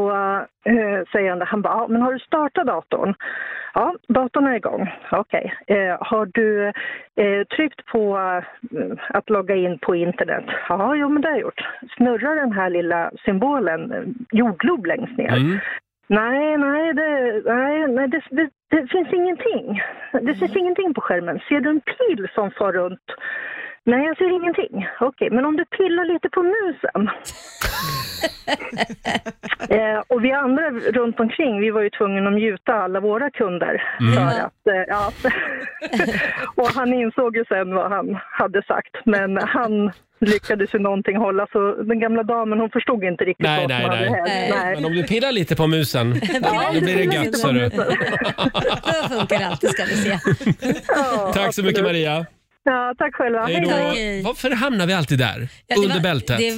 eh, säger han det, han bara, "Ja, men har du startat datorn? Ja, datorn är igång. Okej. Eh, har du eh, tryckt på eh, att logga in på internet? Ja, jo men det har jag gjort. Snurrar den här lilla symbolen, eh, jordglob längst ner? Nej, nej, det, nej, nej det, det, det finns ingenting. Mm. Det syns ingenting på skärmen. Ser du en pil som far runt? Nej, jag ser ingenting. Okej, men om du pillar lite på musen? eh, och vi andra runt omkring, vi var ju tvungna att mjuta alla våra kunder. Mm. För att, eh, ja. och han insåg ju sen vad han hade sagt, men han lyckades ju någonting hålla, så den gamla damen hon förstod inte riktigt Nej, vad som nej, hade nej. hänt. Men om du pillar lite på musen, då blir det gött. sa du. Det funkar alltid ska vi se. Tack så mycket Maria. Ja, tack själva. Hej då. Varför hamnar vi alltid där? Ja, det var- Under bältet? Det är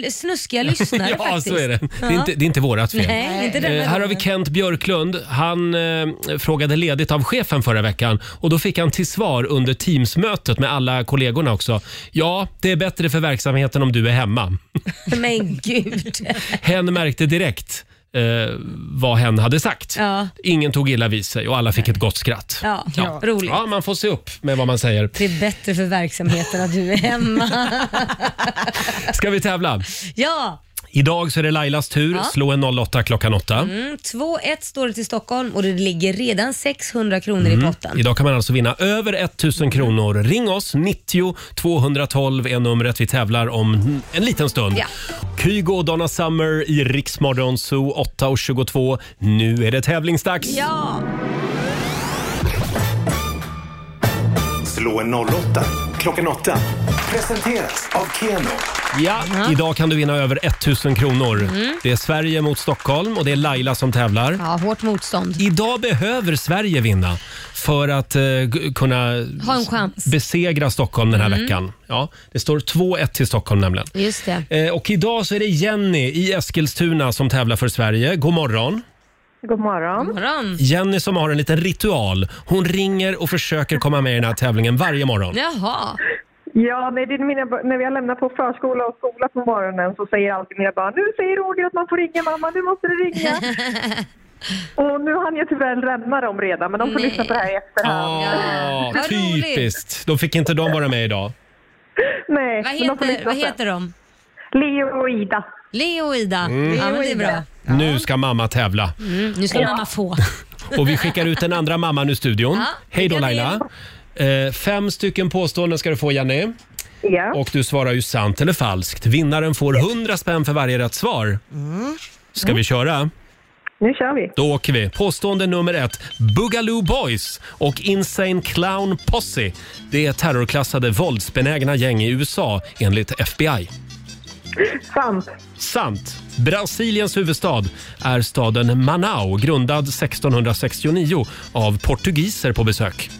våra snuskiga lyssnare ja, faktiskt. så är det. Det är inte, det är inte vårat fel. Nej, inte denna eh, här har vi gången. Kent Björklund. Han eh, frågade ledigt av chefen förra veckan och då fick han till svar under Teamsmötet med alla kollegorna också. Ja, det är bättre för verksamheten om du är hemma. Men gud. Hen märkte direkt eh, vad hen hade sagt. Ja. Ingen tog illa vid sig och alla fick ett gott skratt. Ja, roligt. Ja, man får se upp med vad man säger. Det är bättre för verksamheten att du är hemma. Ska vi tävla? Ja, Idag så är det Lailas tur. Ja. Slå en 08 klockan 8. mm, 2-1 står det till Stockholm och det ligger redan 600 kronor i Mm. potten. Idag kan man alltså vinna över 1000 kronor. Ring oss, 90 212 är numret. Vi tävlar om en liten stund. Ja. Kygo och Donna Summer i Riksmorgon Zoo 8.22. Nu är det tävlingsdags. Ja! Slå en 08 klockan 8. Presenteras av Keno. Ja, idag kan du vinna över 1000 kronor. Mm. Det är Sverige mot Stockholm och det är Laila som tävlar. Ja, hårt motstånd. Idag behöver Sverige vinna för att eh, g- kunna Ha en chans. besegra Stockholm den här Mm. veckan. Ja, det står 2-1 till Stockholm nämligen. Just det. Eh, Och idag så är det Jenny i Eskilstuna som tävlar för Sverige. God morgon. God morgon. God morgon. Jenny som har en liten ritual. Hon ringer och försöker komma med i den här tävlingen varje morgon. Jaha. Ja, när, det är mina, när vi har lämnat på förskola och skola på morgonen så säger alltid mina barn nu säger Roger att man får ringa mamma, nu måste du ringa. Och nu hann jag tyvärr rämma dem redan, men de får lyssna på det här i efterhand. Ja, Ah, typiskt. Då fick inte de vara med idag. Nej, Vad men de får heter, lyssna vad sen. heter de? Leo och Ida. Leo och Ida. Mm. Ja, men det är bra. Nu ska mamma tävla. Mm. Nu ska Ja. mamma få. Och vi skickar ut den andra mamman ur studion. Ja, Hej då lycka Laila. Eh, fem stycken påståenden ska du få Janne. Ja. Och du svarar ju sant eller falskt. Vinnaren får 100 spänn för varje rätt svar. Ska vi köra? Mm. Nu kör vi. Då åker vi. Påstående nummer ett. Boogaloo Boys och Insane Clown Posse. Det är terrorklassade våldsbenägna gäng i USA enligt FBI. Sant. Sant. Brasiliens huvudstad är staden Manaus grundad 1669 av portugiser på besök.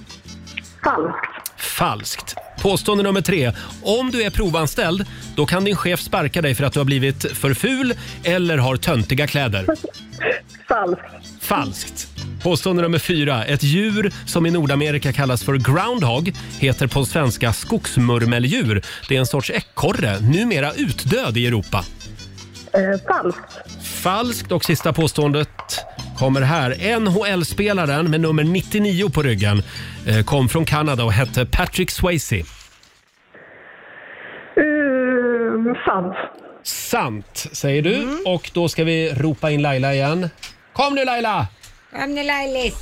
Falskt. Falskt. Påstående nummer tre. Om du är provanställd, då kan din chef sparka dig för att du har blivit för ful eller har töntiga kläder. Falskt. Falskt. Påstående nummer fyra. Ett djur som i Nordamerika kallas för groundhog heter på svenska skogsmurmeldjur. Det är en sorts ekorre, numera utdöd i Europa. Eh, falskt. Falskt. Och sista påståendet kommer här. NHL-spelaren med nummer 99 på ryggen eh, kom från Kanada och hette Patrick Swayze. Eh, sant. Mm. Sant, säger du. Och då ska vi ropa in Laila igen. Kom nu Laila! Kom nu Lailis!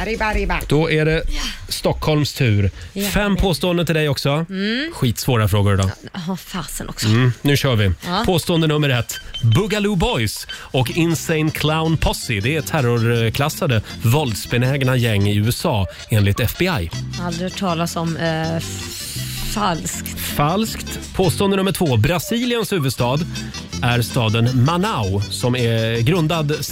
Arriba, arriba! Då är det Stockholms tur. Ja. Fem påståenden till dig också. Mm. Skitsvåra frågor idag. Jaha, fasen också. Mm, nu kör vi. Ja. Påstående nummer ett. Boogaloo Boys och Insane Clown Posse det är terrorklassade våldsbenägna gäng i USA enligt FBI. Aldrig hört talas om eh, f- falskt. Falskt. Påstående nummer två. Brasiliens huvudstad är staden Manaus som är grundad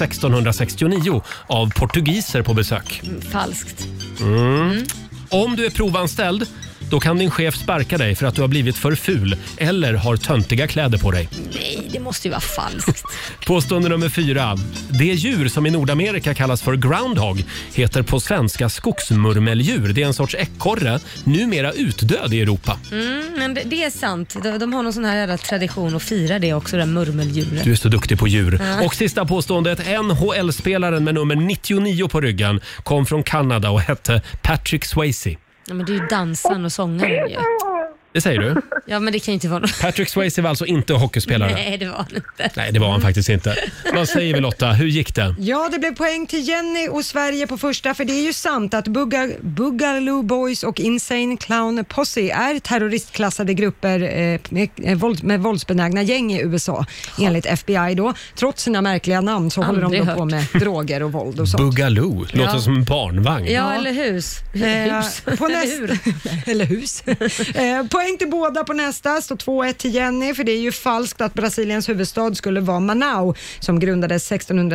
1669 av portugiser på besök. Falskt. Mm. Om du är provanställd då kan din chef sparka dig för att du har blivit för ful eller har töntiga kläder på dig. Nej, det måste ju vara falskt. Påstående nummer fyra. Det djur som i Nordamerika kallas för groundhog heter på svenska skogsmurmeldjur. Det är en sorts ekorre, numera utdöd i Europa. Mm, men det, det är sant. De, de har någon sån här jävla tradition att fira det också, det där murmeldjuret. Du är så duktig på djur. Ja. Och sista påståendet. NHL-spelaren med nummer 99 på ryggen kom från Kanada och hette Patrick Swayze. Ja, men det är ju dansaren och sångaren ju. Det säger du? Ja, men det kan ju inte vara något. Patrick Swayze var alltså inte hockeyspelare? Nej, det var han inte. Nej, det var han faktiskt inte. Vad säger vi Lotta, hur gick det? Ja, det blev poäng till Jenny och Sverige på första, för det är ju sant att Bugga, Boogaloo Boys och Insane Clown Posse är terroristklassade grupper eh, med, eh, våld, med våldsbenägna gäng i USA, enligt FBI då. Trots sina märkliga namn så håller Aldrig de då på med hört. droger och våld och sånt. Boogaloo, låter Ja. som en barnvagn. Ja, eller hus. Eh, hus. på Eller nästa, eller hus. Eh, poäng till båda på nästa, så 2-1 till Jenny, för det är ju falskt att Brasiliens huvudstad skulle vara Manaus, som grundades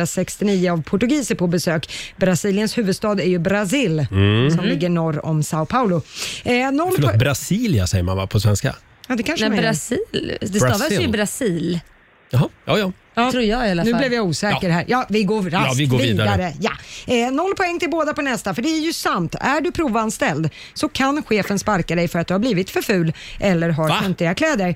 1669 av portugiser på besök. Brasiliens huvudstad är ju Brasil, Mm. som Mm. ligger norr om Sao Paulo. Eh, noll Förlåt, po- Brasilia säger man va på svenska? ja, det kanske Nej, man gör. Brasil. Det stavas ju Brasil. Brasil. Jaha, ja, ja. Tror jag i alla fall. Nu blev jag osäker här. Ja, vi går raskt Ja, vi går vidare. Ja. Eh, noll poäng till båda på nästa, för det är ju sant. Är du provanställd så kan chefen sparka dig för att du har blivit för ful eller har töntiga kläder.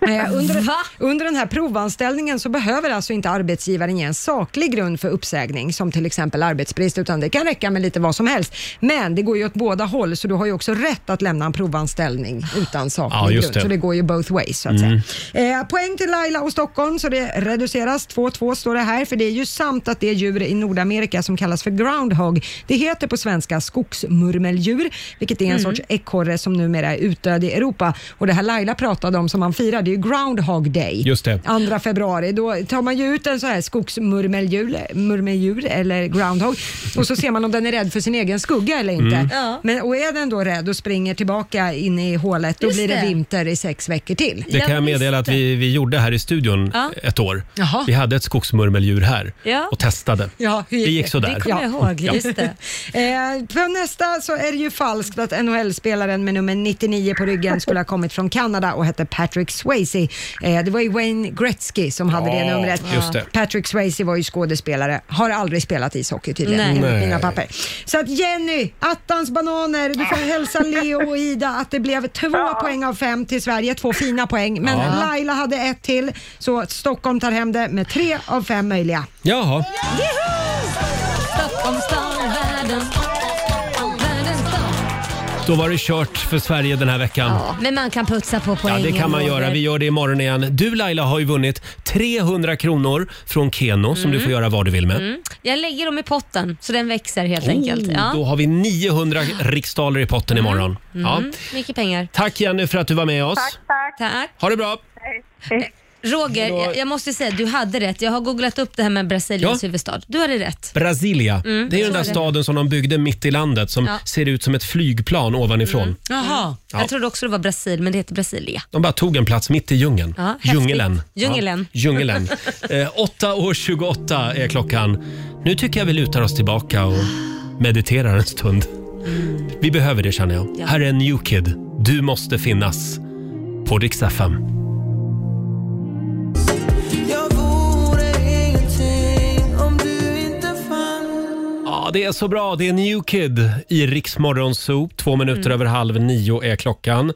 Eh, under, under den här provanställningen så behöver alltså inte arbetsgivaren ge en saklig grund för uppsägning som till exempel arbetsbrist utan det kan räcka med lite vad som helst. Men det går ju åt båda håll så du har ju också rätt att lämna en provanställning utan saklig Ja, just grund. det. Så det går ju both ways så att säga. Mm. Eh, poäng till Laila och Stockholm, så det reduceras. 2-2 står det här, för det är ju sant att det djur i Nordamerika som kallas för groundhog, det heter på svenska skogsmurmeldjur, vilket är en Mm. sorts ekorre som numera är utdöd i Europa. Och det här Laila pratade om som man firar, det är ju groundhog day. Just det. 2 februari, då tar man ju ut en så här skogsmurmeldjur murmeldjur eller groundhog och så ser man om den är rädd för sin egen skugga eller inte. Mm. Ja. Men, och är den då rädd och springer tillbaka in i hålet, då Just blir det det. vinter i sex veckor till. Det kan jag meddela att vi, vi gjorde här i studion Ja. ett år. Jaha. Vi hade ett skogsmurmeldjur här Ja. och testade. Ja, hur Det gick sådär. Det kommer jag Ja. ihåg. Ja. Just det. Eh, på nästa så är det ju falskt att NHL-spelaren med nummer 99 på ryggen skulle ha kommit från Kanada och hette Patrick Swayze. Eh, det var ju Wayne Gretzky som hade det Ja, numret. just det. Patrick Swayze var ju skådespelare, har aldrig spelat ishockey tydligen, Nej. enligt Nej. mina papper. Så att Jenny, attans bananer, du får hälsa Leo och Ida att det blev två poäng av fem till Sverige, två fina poäng. Men Ja. Laila hade ett till, så Stockholm tar hem det med tre av fem möjliga. Jaha. Om stan, världen, världen Då var det kört för Sverige den här veckan. Men man kan putsa på Ja, poängen. det kan man Roger. göra. Vi gör det imorgon igen. Du Laila har ju vunnit 300 kronor från Keno som du Mm. får göra vad du vill med. Mm. Jag lägger dem i potten så den växer helt Oh, enkelt. Ja. Då har vi 900 riksdaler i potten imorgon. Mm. Ja. Mycket pengar. Tack Jenny för att du var med oss. Tack. Tack. Ha det bra. Roger, jag- jag måste säga du hade rätt. Jag har googlat upp det här med Brasiliens Ja. huvudstad. Du hade rätt. Brasilia, Mm, det är ju den så där är det. staden som de byggde mitt i landet som Ja. Mm. ser ut som ett flygplan ovanifrån. Jaha. Ja. Jag trodde också det var Brasil, men det heter Brasilia. De bara tog en plats mitt i djungeln. Ja, häftigt. djungeln. Djungeln. Ja, djungeln. eh, 8 år 28 är klockan. Nu tycker jag vi lutar oss tillbaka och mediterar en stund. Vi behöver det känner jag. Ja. Här är New Kid. Du måste finnas. På Rix FM. Jag vore ingenting om du inte fanns Ja, det är så bra. Det är New Kid i Rix Morgon Zoo. Två minuter Mm. över halv nio är klockan.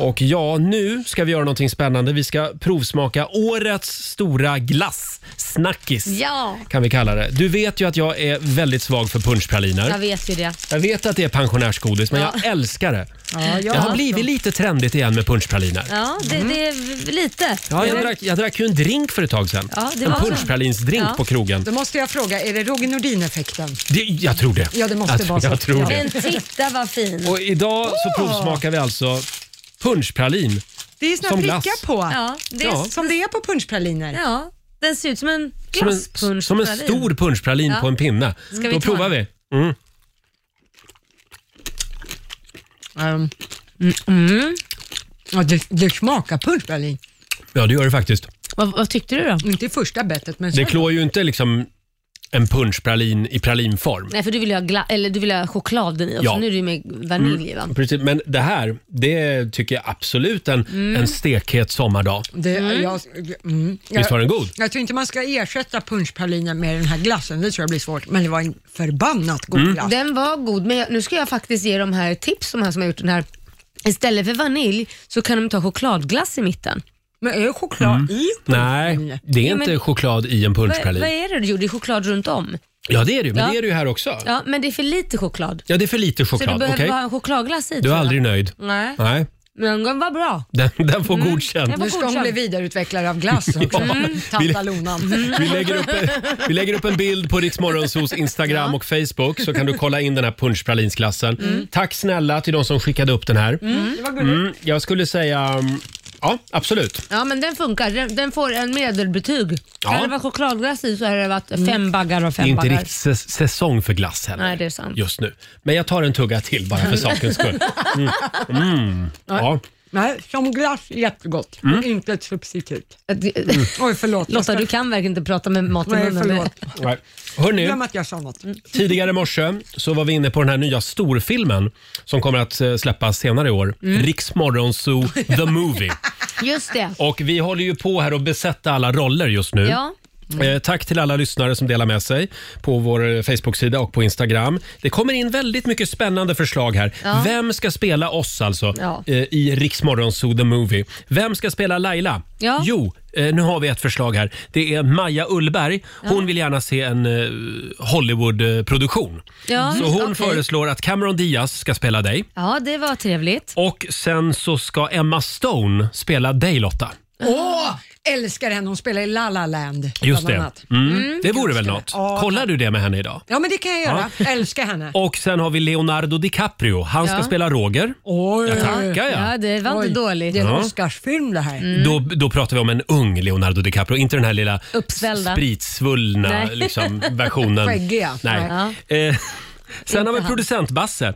Och ja, nu ska vi göra någonting spännande. Vi ska provsmaka årets stora glass. Snackis, Ja, kan vi kalla det. Du vet ju att jag är väldigt svag för punschpraliner. jag vet ju det. Jag vet att det är pensionärsgodis, men jag älskar det. Ja, jag det har också. blivit lite trendigt igen med punschpraliner. Ja, det, Mm. det är v- lite. Ja, jag, Det- drack, jag drack ju en drink för ett tag sedan. Ja, det en var så. punschpralinsdrink på krogen. Då måste jag fråga, är det Roger Nordin-effekten? Det, jag tror det. Ja, det måste jag, vara så. Jag tror Ja. det. Men titta vad fin. Och idag så Åh! provsmakar vi alltså punschpralin. Det är såna Som prickar glass. på, Ja, det är- som det är på punschpraliner. Ja, den ser ut som en Som en, glasspunschpralin. som en stor punschpralin Ja. på en pinne. Ska vi Då ta provar vi. den? Mm. Um. Mm. Ja, det, det smakar punschpralin. Ja, det gör det faktiskt. Vad, tyckte du då? Inte i första bettet, men Det sen. klår ju inte liksom en punschpralin i pralinform. Nej, för du vill ju ha, gla- eller du vill ha chokladen i och Ja. så nu är det ju med vanilj va? Mm, precis. Men det här, det tycker jag absolut en, Mm. en stekhet sommardag. Det, jag, mm. Visst var den god? Jag tror inte man ska ersätta punschpralinen med den här glassen, det tror jag blir svårt. Men det var en förbannat god Mm. glass. Den var god, men jag, nu ska jag faktiskt ge de här tips, de här som har gjort den här. Istället för vanilj så kan de ta chokladglass i mitten. Men är det choklad Mm. i? Nej, det är Ja, inte men- choklad i en Vad, vad punschpralin. är det du gjorde? Det är choklad runt om. Ja, det är det ju, men Ja. det är det ju här också. Ja, men det är för lite choklad. Ja, det är för lite så du choklad. behöver Okej? bara ha chokladglass i. Du tror är jag. aldrig nöjd? Nej. Mm. Nej. Men den var bra. Den, den får godkänt. Nu ska hon bli vidareutvecklare av glass också. Ja. Mm, Tantalonan. Vi lägger, upp, vi lägger upp en bild på Rix Morgonzos Instagram och Facebook så kan du kolla in den här punschpralinsglassen. Tack snälla till de som skickade upp den här. Mm. Det var gulligt. jag skulle säga, mm, ja absolut. Ja, men den funkar. Den, den får en medelbetyg. Ja. Hade det varit chokladglass i så hade det varit fem baggar av Det är fem inte baggar. riktigt säs- säsong för glass heller Nej, det är sant. just nu. Men jag tar en tugga till bara för sakens skull. Mm. Mm. Ja. Nej, som glass jättegott, Mm. men inte ett substitut. Mm. Oj, förlåt. Jag Lotta, ska- du kan verkligen inte prata med mat i Nej, munnen. Mm. förlåt. Nej. Hörrni, Glöm att jag sa något. tidigare i morse så var vi inne på den här nya storfilmen som kommer att eh, släppas senare i år. Mm. Rix Morgonzoo The Movie. Just det. Och vi håller ju på här att besätta alla roller just nu. Ja. Eh, tack till alla lyssnare som delar med sig på vår eh, Facebook-sida och på Instagram. Det kommer in väldigt mycket spännande förslag här. Ja. Vem ska spela oss alltså Ja. eh, i Rix Morgonzoo The Movie? Vem ska spela Laila? Ja. Jo, eh, nu har vi ett förslag här. Det är Maja Ullberg. Hon Ja. vill gärna se en eh, Hollywood-produktion. Ja, Så hon okej. föreslår att Cameron Diaz ska spela dig. Ja, det var trevligt. Och sen så ska Emma Stone spela dig Lotta. Ah. Åh, älskar henne. Hon spelar i La La Land. Just bland det. annat. Mm. Mm. Det vore väl något. Ja. Kollar du det med henne idag? Ja, men det kan jag göra. Älskar henne. Och sen har vi Leonardo DiCaprio. Han ska Ja. spela Roger. Oj. Jag tackar jag. Ja, det var inte dåligt. Mm. Det är en Ja. Oscarsfilm det här. Då, då pratar vi om en ung Leonardo DiCaprio, inte den här lilla Uppsvällda. spritsvullna Nej. liksom, versionen. Skäggiga. Nej. Eh, sen har vi producent Basse.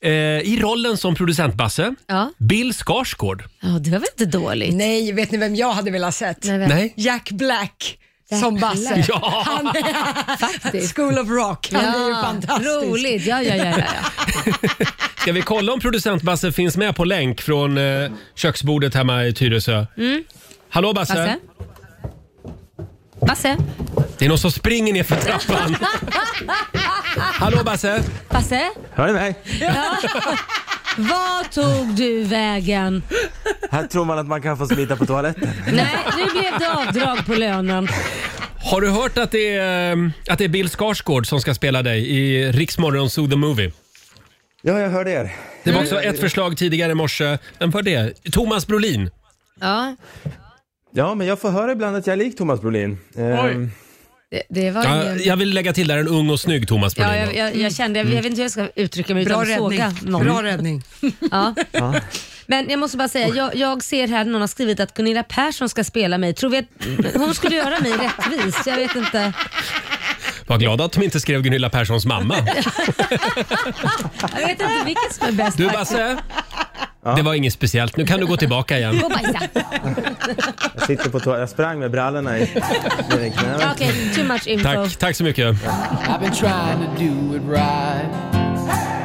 Eh, I rollen som producent Basse, Ja. Bill Skarsgård. Ja, det var väl inte dåligt? Nej, vet ni vem jag hade velat sett? vem? Nej. Jack Black. som Basse. Black. Ja. Han, Faktiskt. School of Rock. Han är ju Ja, fantastisk. roligt. Ja, ja, ja, ja, Ska vi kolla om producent Basse finns med på länk från eh, köksbordet hemma i Tyresö? Mm. Hallå Basse. Basse? Basse? Det är någon som springer ner för trappan. Hallå Basse. Basse? Hör ni mig? Ja. Var tog du vägen? Här tror man att man kan få smita på toaletten. Nej, nu blev det avdrag på lönen. Har du hört att det är, eh, att det är Bill Skarsgård som ska spela dig i Riksmorgon Zoo The Movie? Ja, jag hörde er. Det var också ett förslag tidigare i morse. Vem var det? Thomas Brolin. Ja, Ja, men jag får höra ibland att jag är lik Thomas Brolin. Ehm, Oj. det, det var Ja, ingen... jag vill lägga till där en ung och snygg Thomas Brolin. Ja, jag, jag, jag kände, jag, Mm. jag vet inte hur jag ska uttrycka mig Bra utan att såga räddning. någon. Bra räddning. Ja. Ja. Men jag måste bara säga, jag, jag ser här någon har skrivit att Gunilla Persson ska spela mig. Tror vi att hon skulle göra mig rättvis? Jag vet inte. Var glad att de inte skrev Gunilla Perssons mamma. Jag vet inte vilket som är bäst. Du faktiskt. Basse, det var inget speciellt. Nu kan du gå tillbaka igen. Gå och bajsa. Jag sitter på toa. Jag sprang med brallorna i med den knäna. Ja, Okej, too much info. Tack, tack så mycket. I've been trying to do it right.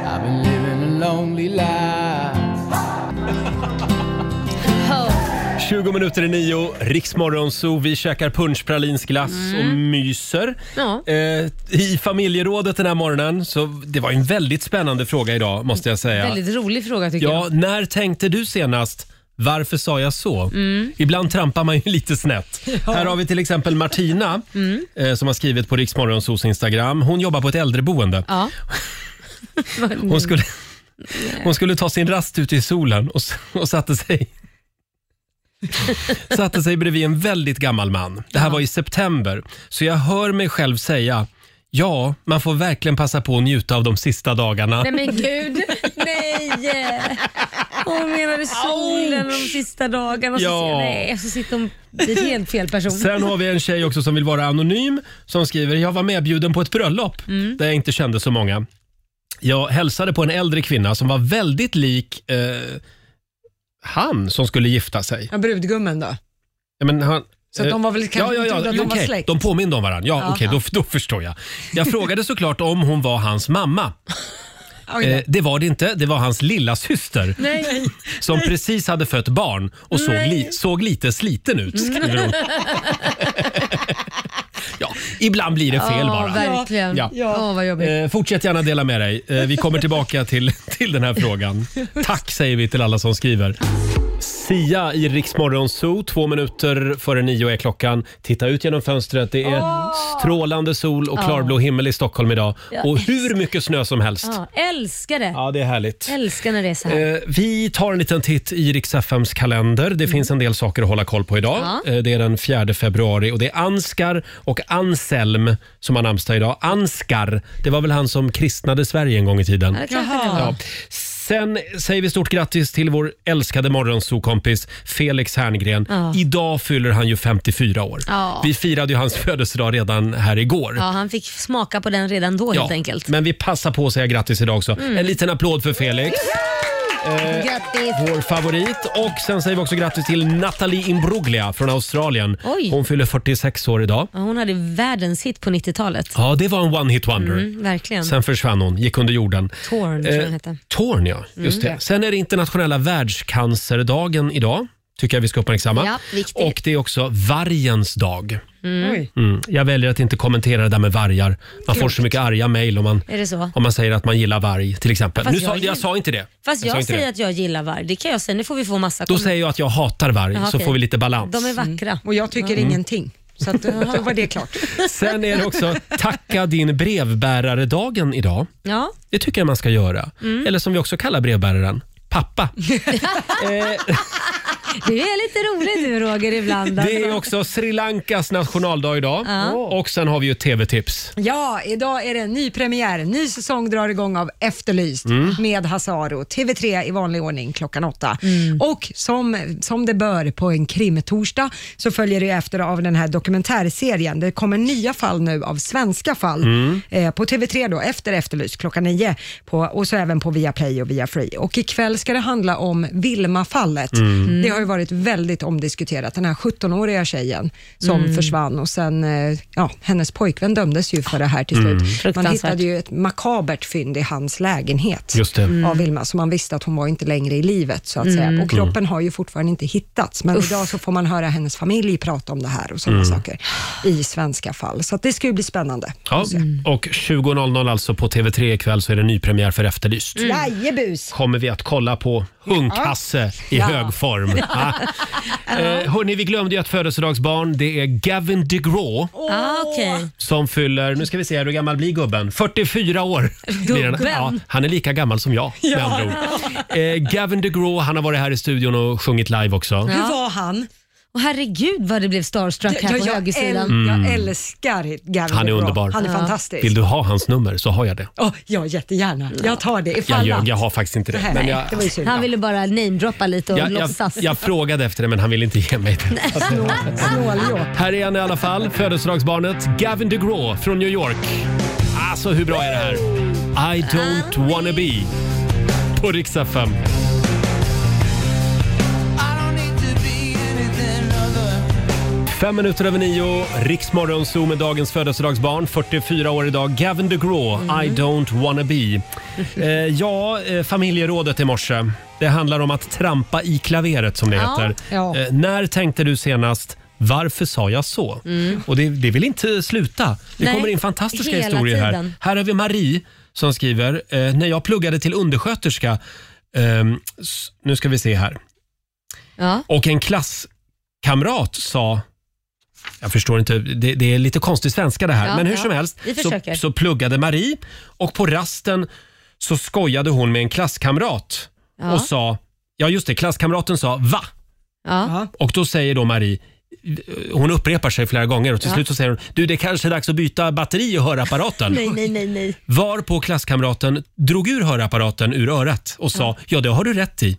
I've been living a lonely life. 20 minuter i nio, Riksmorgonzoo. Vi käkar punschpralinsglass och myser. Mm. Ja. Eh, I familjerådet den här morgonen, så det var en väldigt spännande fråga idag måste jag säga. Väldigt rolig fråga tycker Ja, när tänkte du senast varför sa jag så? Mm. Ibland trampar man ju lite snett. Ja. Här har vi till exempel Martina Mm. eh, som har skrivit på Riksmorgonsos Instagram. Hon jobbar på ett äldreboende. jag. Ja. Hon skulle, hon skulle ta sin rast ut i solen och, s- och satte sig satte sig bredvid en väldigt gammal man. Det här var i september. Så jag hör mig själv säga Ja, man får verkligen passa på att njuta av de sista dagarna. Nej men gud, nej! Hon menade solen och de sista dagarna. Så, Ja. ja. nej, så sitter hon vid helt fel person. Sen har vi en tjej också som vill vara anonym som skriver “Jag var medbjuden på ett bröllop Mm. där jag inte kände så många. Jag hälsade på en äldre kvinna som var väldigt lik eh, han som skulle gifta sig. Ja, brudgummen då? Ja, men han, Så att de var väl eh, kanske ja, ja, trodde ja, att de var okej. släkt. De påminde om varandra. Ja, Ja. okej, då, då förstår jag. Jag frågade såklart om hon var hans mamma. Oj då. Eh, det var det inte. Det var hans lilla syster Nej. som precis hade fött barn och såg, Nej. li, såg lite sliten Mm. ut, Mm. skriver hon. Ibland blir det fel Ja, bara. verkligen. Ja. Ja. Åh, vad jobbigt. Eh, fortsätt gärna dela med dig. Eh, vi kommer tillbaka till, till den här frågan. Tack säger vi till alla som skriver. Sia i Rix Morgon Zoo, två minuter före nio är klockan. Titta ut genom fönstret. Det är strålande sol och Ja. klarblå himmel i Stockholm idag. Jag Och hur mycket snö som helst. Ja, älskar det. Ja, det är härligt. Älskar när det är så här. Mm. Eh, vi tar en liten titt i Rix FMs kalender. Det finns en del saker att hålla koll på idag. Ja. Eh, det är den 4 februari och det är Anskar och Anselm som har namnsdag idag. Anskar, det var väl han som kristnade Sverige en gång i tiden. Ja, det kanske det var. Sen säger vi stort grattis till vår älskade morgonsokompis Felix Herngren. Ja. Idag fyller han ju 54 år. Ja. Vi firade ju hans födelsedag redan här igår. Ja, han fick smaka på den redan då helt enkelt. Men vi passar på att säga grattis idag också. Mm. En liten applåd för Felix. Eh, Grattis! vår favorit. Och sen säger vi också grattis till Nathalie Imbruglia från Australien. Oj. Hon fyller 46 år idag. Ja, hon hade världens hit på 90-talet. Ja, det var en one-hit wonder. Mm, verkligen. Sen försvann hon, gick under jorden. Torn tror jag Eh, den hette. Torn, ja. Just Mm. det. Sen är det internationella världscancerdagen idag. Tycker jag vi ska uppmärksamma. Ja, viktigt. Och det är också vargens dag. Mm. Mm. Jag väljer att inte kommentera det där med vargar. Man får Klokt. så mycket arga mejl om man, Är det så? om man säger att man gillar varg till exempel. Fast Nu sa, jag gill- jag sa inte det. Fast jag, sa inte säger det. att jag gillar varg. Det kan jag säga. Nu får vi få massa Då kom- säger jag att jag hatar varg Jaha, så okej. får vi lite balans. De är vackra. Och jag tycker Mm. ingenting. Så att, eh, då var det klart. Sen är det också tacka din brevbärare-dagen idag. Ja. Det tycker jag man ska göra. Mm. Eller som vi också kallar brevbäraren, pappa. Eh, Du är lite rolig du Roger ibland. alltså. Det är också Sri Lankas nationaldag idag. Ja. Och sen har vi ju ett tv-tips. Ja, idag är det en ny premiär. En ny säsong drar igång av Efterlyst Mm. med Hasaro. TV3 i vanlig ordning klockan åtta. Mm. Och som, som det bör på en krimtorsdag så följer det efter av den här dokumentärserien. Det kommer nya fall nu av svenska fall Mm. eh, på TV3 då efter Efterlyst klockan nio på, och så även på Viaplay och Viafree. Och ikväll ska det handla om Vilma-fallet. Mm. Det har ju varit väldigt omdiskuterat. Den här 17-åriga tjejen som Mm. försvann och sen, eh, ja, hennes pojkvän dömdes ju för det här till slut. Mm. Man Fruktansvärt. hittade ju ett makabert fynd i hans lägenhet Just det. Mm. av Vilma, så man visste att hon var inte längre i livet så att Mm. säga. Och kroppen Mm. har ju fortfarande inte hittats, men Uff. idag så får man höra hennes familj prata om det här och sådana Mm. saker i svenska fall. Så att det ska ju bli spännande. Ja. Mm. Och 20.00 alltså på TV3 ikväll så är det Mm. Mm. nypremiär för Efterlyst. Jajebus! Kommer vi att kolla på Hundkasse i Ja. hög form. Eh, hörni, vi glömde ju ett födelsedagsbarn. Det är Gavin DeGraw Ah, okej. som fyller, nu ska vi se här, hur gammal blir gubben? 44 år. blir han. Gubben? Ja, han är lika gammal som jag med Ja. andra ord. Eh, Gavin DeGraw, han har varit här i studion och sjungit live också. Hur var han? Och herregud vad det blev starstruck här på högersidan. Mm. Jag älskar Gavin Han är DeGraw. underbar. Han är fantastisk. Vill du ha hans nummer så har jag det. Åh, ja, jättegärna. Jag tar det Jag ifall ljög, att- jag har faktiskt inte det. Nej, Men jag, det var ju synd. Han ville bara namedroppa lite och jag, jag, låtsas. jag frågade efter det men han ville inte ge mig det. Snåljåp. Här är han i alla fall, födelsedagsbarnet Gavin DeGraw från New York. Alltså hur bra är det här? I don't wanna be på riksdag 5. Fem minuter över nio, Riksmorgon Zoo med dagens födelsedagsbarn, 44 år idag, Gavin DeGraw, Mm. I don't wanna be. Eh, ja, eh, familjerådet i morse. Det handlar om att trampa i klaveret som det Ja, heter. ja. Eh, när tänkte du senast varför sa jag så? Mm. Och det, det vill inte sluta. Det Nej, kommer in fantastiska hela historier här. tiden. Här har vi Marie som skriver, eh, när jag pluggade till undersköterska, ehm, s- nu ska vi se här, och en klasskamrat sa jag förstår inte, det, det är lite konstig svenska det här. Ja, men hur ja. som helst Vi så, försöker. så pluggade Marie och på rasten så skojade hon med en klasskamrat Ja. och sa, ja just det, klasskamraten sa va? Och då säger då Marie, hon upprepar sig flera gånger och till Ja. slut så säger hon, du det kanske är dags att byta batteri i hörapparaten. nej, nej, nej, nej. Var på klasskamraten drog ur hörapparaten ur örat och sa, ja det har du rätt i.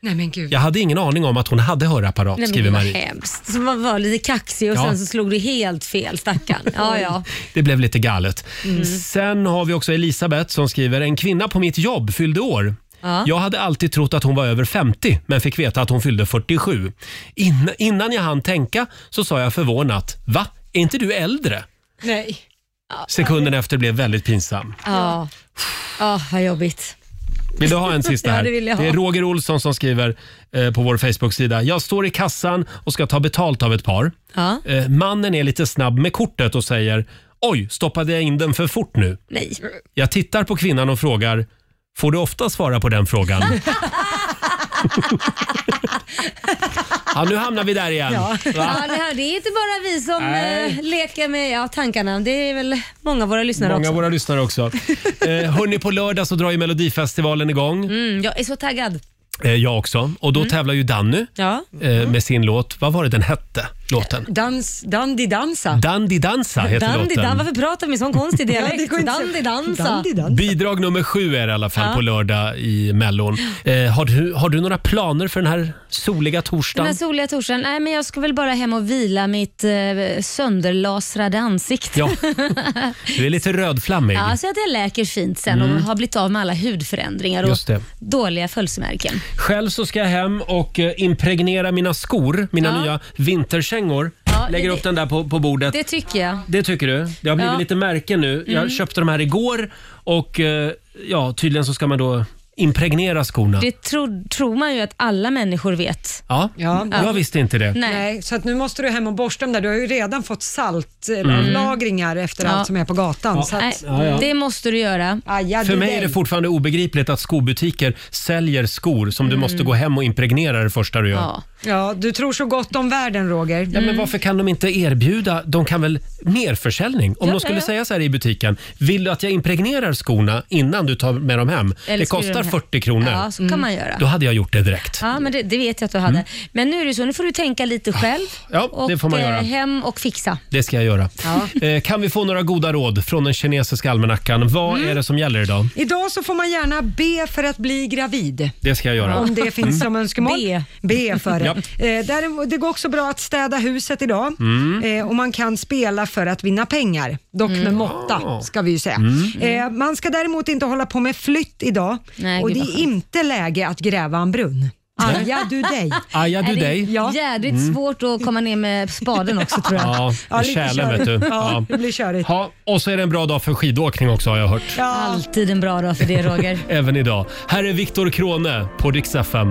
Nej men gud. Jag hade ingen aning om att hon hade hörapparat, Nej, men skriver det var Marie. hemskt. Så man var lite kaxig och Ja. sen så slog du helt fel stackarn. Ja, ja. Det blev lite galet. Mm. Sen har vi också Elisabeth som skriver, en kvinna på mitt jobb fyllde år. Ja. Jag hade alltid trott att hon var över 50 men fick veta att hon fyllde 47. Inna, innan jag hann tänka så sa jag förvånat, va? Är inte du äldre? Nej. Sekunden efter blev väldigt pinsam. Ja, ja vad jobbigt. Vill du ha en sista här? Ja, det vill jag ha. är Roger Olsson som skriver eh, på vår Facebook-sida. Jag står i kassan och ska ta betalt av ett par. Ja. Eh, mannen är lite snabb med kortet och säger Oj, stoppade jag in den för fort nu? Nej. Mm. Jag tittar på kvinnan och frågar Får du ofta svara på den frågan? ja, nu hamnar vi där igen. Ja. Va? Ja, det, här, det är inte bara vi som Nej. eh, leker med ja, tankarna. Det är väl många av våra lyssnare Många också. av våra lyssnare också. Eh, hörni, på lördag så drar ju Melodifestivalen igång. Mm, jag är så taggad. Eh, jag också. Och då Mm. tävlar ju Danny Ja. eh, med sin låt. Vad var det den hette? Låten? Dans, dandy dansa. Dandy Dansa heter Dandy, dan, låten. varför pratar vi med sån konstig Ja, det dialekt? går inte- Dandy dansa. Dandy Bidrag nummer sju är det i alla fall Ja. på lördag i Mellon. Eh, har, du, har du några planer för den här soliga Den torsdagen? här soliga torsdagen, nej men jag ska väl bara hem och vila mitt eh, sönderlasrade ansikte. Ja. Du är lite rödflammig. ja, så att jag läker fint sen Mm. och har blivit av med alla hudförändringar och Just det. dåliga födelsemärken. Själv så ska jag hem och eh, impregnera mina skor, mina Ja. nya vinterkängor. Ja, Lägger det- upp den där på, på bordet. Det Det, tycker jag. tycker du? Det har blivit Ja. lite märken nu. Mm. Jag köpte de här igår och eh, ja, tydligen så ska man då impregnera skorna. Det tror, tror man ju att alla människor vet. Ja, Ja. jag visste inte det. Nej. Nej. så att nu måste du hem och borsta dem där. Du har ju redan fått Mm. saltlagringar efter Ja. allt som är på gatan. Ja. Så att, Nej, Ja, ja. Det måste du göra. För mig är det fortfarande obegripligt att skobutiker säljer skor som du Mm. måste gå hem och impregnera det första du gör. Ja. Ja, du tror så gott om världen Roger. Mm. men varför kan de inte erbjuda, de kan väl merförsäljning? Om Ja, de skulle ja. säga så här i butiken, vill du att jag impregnerar skorna innan du tar med dem hem? Eller det skriver kostar de här. 40 kronor. Mm. Ja, så kan Mm. man göra. Då hade jag gjort det direkt. Ja, men det, det vet jag att du hade. Men nu är det så, nu får du tänka lite själv. Ja, Mm. Ah, det får man eh, göra. hem och fixa. Det ska jag göra. Ja. Eh, Kan vi få några goda råd från den kinesiska almanackan? Vad Mm. är det som gäller idag? Idag så får man gärna be för att bli gravid. Det ska jag göra. Om det finns Mm. som önskemål. Be. Be för det. Japp. Eh, däremot, det går också bra att städa huset idag Mm. eh, och man kan spela för att vinna pengar. Dock med måtta ska vi ju säga. Mm. Eh, man ska däremot inte hålla på med flytt idag Nej, och gud, det vad är skönt. inte läge att gräva en brunn. Nej. Aja du dig. Aja du Är det dig. jädrigt Mm. svårt att komma ner med spaden också tror jag. Ja, ja lite tjälen körigt. vet du. Ja, det blir körigt. Ja, och så är det en bra dag för skidåkning också har jag hört. Alltid en bra dag för det Roger. Även idag. Här är Viktor Krone på Rix FM.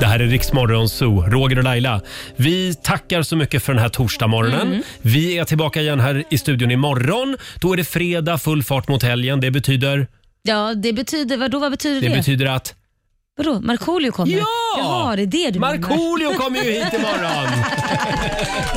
Det här är Riksmorgon Zoo, Roger och Laila. Vi tackar så mycket för den här torsdagsmorgonen. Mm. Vi är tillbaka igen här i studion imorgon. Då är det fredag, full fart mot helgen. Det betyder, Ja, det betyder, vadå, vad betyder det det? betyder att Vadå, Markoolio kommer? Ja! Jaha, det är det du menar. Markoolio kommer ju hit imorgon.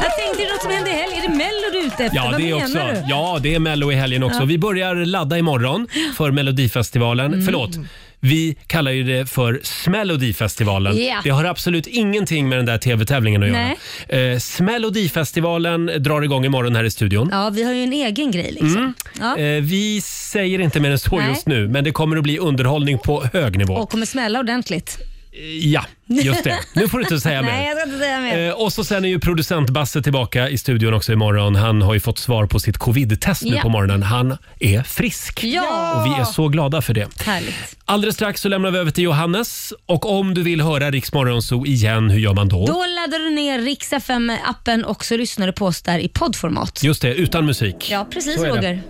Jag tänkte, är det något som händer i helgen? Är det Mello du är ute efter? Ja, Vad det är menar också. Mm. du? Ja, det är Mello i helgen också. Ja. Vi börjar ladda imorgon för Melodifestivalen. Mm. Förlåt. Vi kallar ju det för Smällodifestivalen. Ja. Det har absolut ingenting med den där TV-tävlingen att göra. Eh, Smällodifestivalen drar igång imorgon här i studion. Ja, vi har ju en egen grej liksom. Mm. Ja. Eh, vi säger inte mer än så Nej. just nu, men det kommer att bli underhållning på hög nivå. Och kommer smälla ordentligt. Ja, just det. Nu får du inte säga Nej, mer. jag ska inte säga mer. Eh, och så sen är ju producent Basse tillbaka i studion också imorgon. Han har ju fått svar på sitt covid-test nu Ja. på morgonen. Han är frisk. Ja. Och vi är så glada för det. Härligt. Alldeles strax så lämnar vi över till Johannes. Och om du vill höra Rix Morgonzoo igen, hur gör man då? Då laddar du ner Rix FM-appen och så lyssnar du på oss där i poddformat. Just det, utan musik. Ja, precis Så är det. Roger.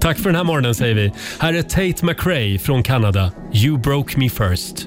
Tack för den här morgonen säger vi. Här är Tate McRae från Kanada. You broke me first.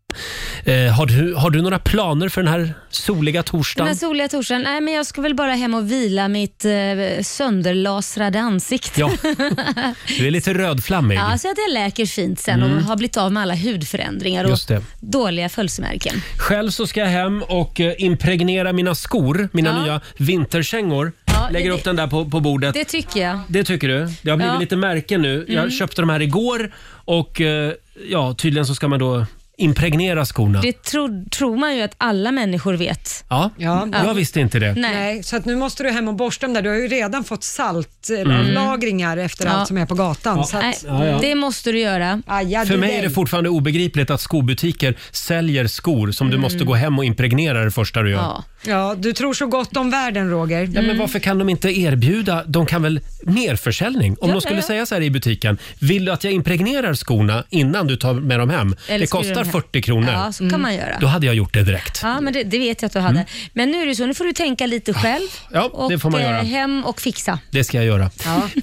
Eh, har, du, har du några planer för den här soliga Den här torsdagen? soliga torsdagen, nej men jag ska väl bara hem och vila mitt eh, sönderlasrade ansikte. Ja. Du är lite rödflammig. Ja, så att jag läker fint sen Mm. och har blivit av med alla hudförändringar och Just det. dåliga födelsemärken. Själv så ska jag hem och eh, impregnera mina skor, mina Ja. nya vinterkängor. Ja, Lägger det- upp den där på, på bordet. Det tycker jag. Det tycker du? Det har blivit Ja. lite märken nu. Jag Mm. köpte de här igår och eh, ja, tydligen så ska man då impregnera skorna. Det tror, tror man ju att alla människor vet. Ja, Ja. jag visste inte det. Nej. så att nu måste du hem och borsta dem där. Du har ju redan fått Mm. saltlagringar efter Ja. allt som är på gatan. Ja. Så att, Nej, Ja, ja. Det måste du göra. För mig är det fortfarande obegripligt att skobutiker säljer skor som du Mm. måste gå hem och impregnera det första du gör. Ja. Ja, du tror så gott om världen Roger. men Mm. varför kan de inte erbjuda, de kan väl merförsäljning? Om Ja, de skulle ja. säga så här i butiken, vill du att jag impregnerar skorna innan du tar med dem hem? Eller det skriver kostar de hem. 40 kronor. Mm. Ja, så kan Mm. man göra. Då hade jag gjort det direkt. Ja, men det, det vet jag att du hade. Men nu är det så, nu får du tänka lite själv Ja, och Mm. Ah, det får man eh, göra. hem och fixa. Det ska jag göra.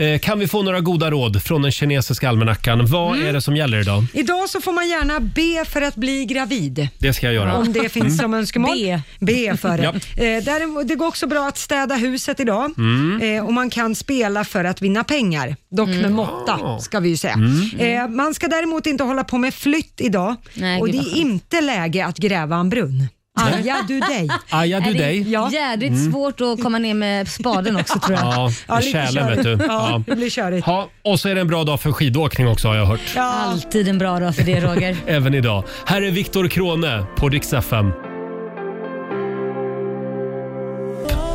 Eh, Kan vi få några goda råd från den kinesiska almanackan? Vad är det som gäller idag? Idag så får man gärna be för att bli gravid. Det ska jag göra. Om det finns Mm. som önskemål. B. för det. Ja. Eh, däremot- det går också bra att städa huset idag Mm. eh, och man kan spela för att vinna pengar. Dock med måtta ska vi ju säga. Mm. Eh, man ska däremot inte hålla på med flytt idag Nej, och gud, det vad är skönt. inte läge att gräva en brunn. Aja du dig. Aja du Är det dig. Mm. Jädrigt svårt att komma ner med spaden också tror jag. Ja, ja lite kärlen körigt. vet du. Ja, det blir körigt. Ja, och så är det en bra dag för skidåkning också har jag hört. Alltid en bra dag för det Roger. Även idag. Här är Viktor Krone på Rix FM.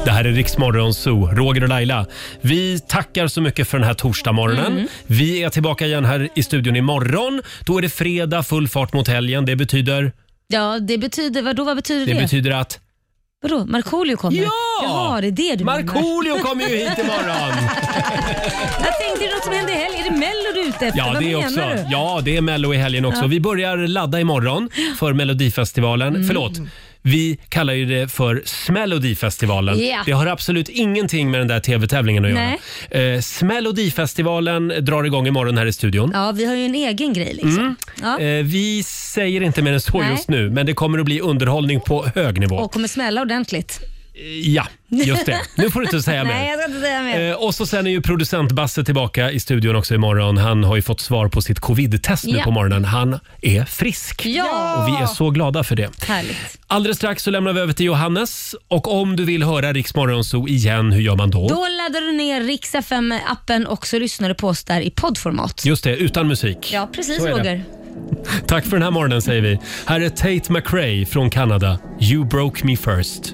Det här är Riksmorgon Zoo, Roger och Laila. Vi tackar så mycket för den här torsdagsmorgonen. Mm. Vi är tillbaka igen här i studion imorgon. Då är det fredag, full fart mot helgen. Det betyder? Ja, det betyder, vadå, vad betyder det? Det betyder att Vadå, Markoolio kommer? Ja! Jaha, det är det du Markoolio kommer ju hit imorgon. jag tänkte, är det något som händer i helgen? Är det Mello du är ute efter? Ja, Vad det är menar också. du? Ja, det är Mello i helgen också. Ja. Vi börjar ladda imorgon för Melodifestivalen. Mm. Förlåt. Vi kallar ju det för Smällodifestivalen. Ja. Det har absolut ingenting med den där TV-tävlingen att Nej. göra. Eh, Smällodifestivalen drar igång imorgon här i studion. Ja, vi har ju en egen grej liksom. Mm. Ja. Eh, vi säger inte mer än så Nej. just nu, men det kommer att bli underhållning på hög nivå. Och kommer smälla ordentligt. Ja, just det. Nu får du inte säga mer. Nej, jag ska inte säga mer. Eh, och så sen är ju producent Basse tillbaka i studion också imorgon. Han har ju fått svar på sitt covid-test nu Ja. på morgonen. Han är frisk. Ja. Och vi är så glada för det. Härligt. Alldeles strax så lämnar vi över till Johannes. Och om du vill höra Rix Morgonzoo igen, hur gör man då? Då laddar du ner Rix FM-appen och så lyssnar du på oss där i poddformat. Just det, utan musik. Ja, precis Så är det. Roger. Tack för den här morgonen säger vi. Här är Tate McRae från Kanada. You broke me first.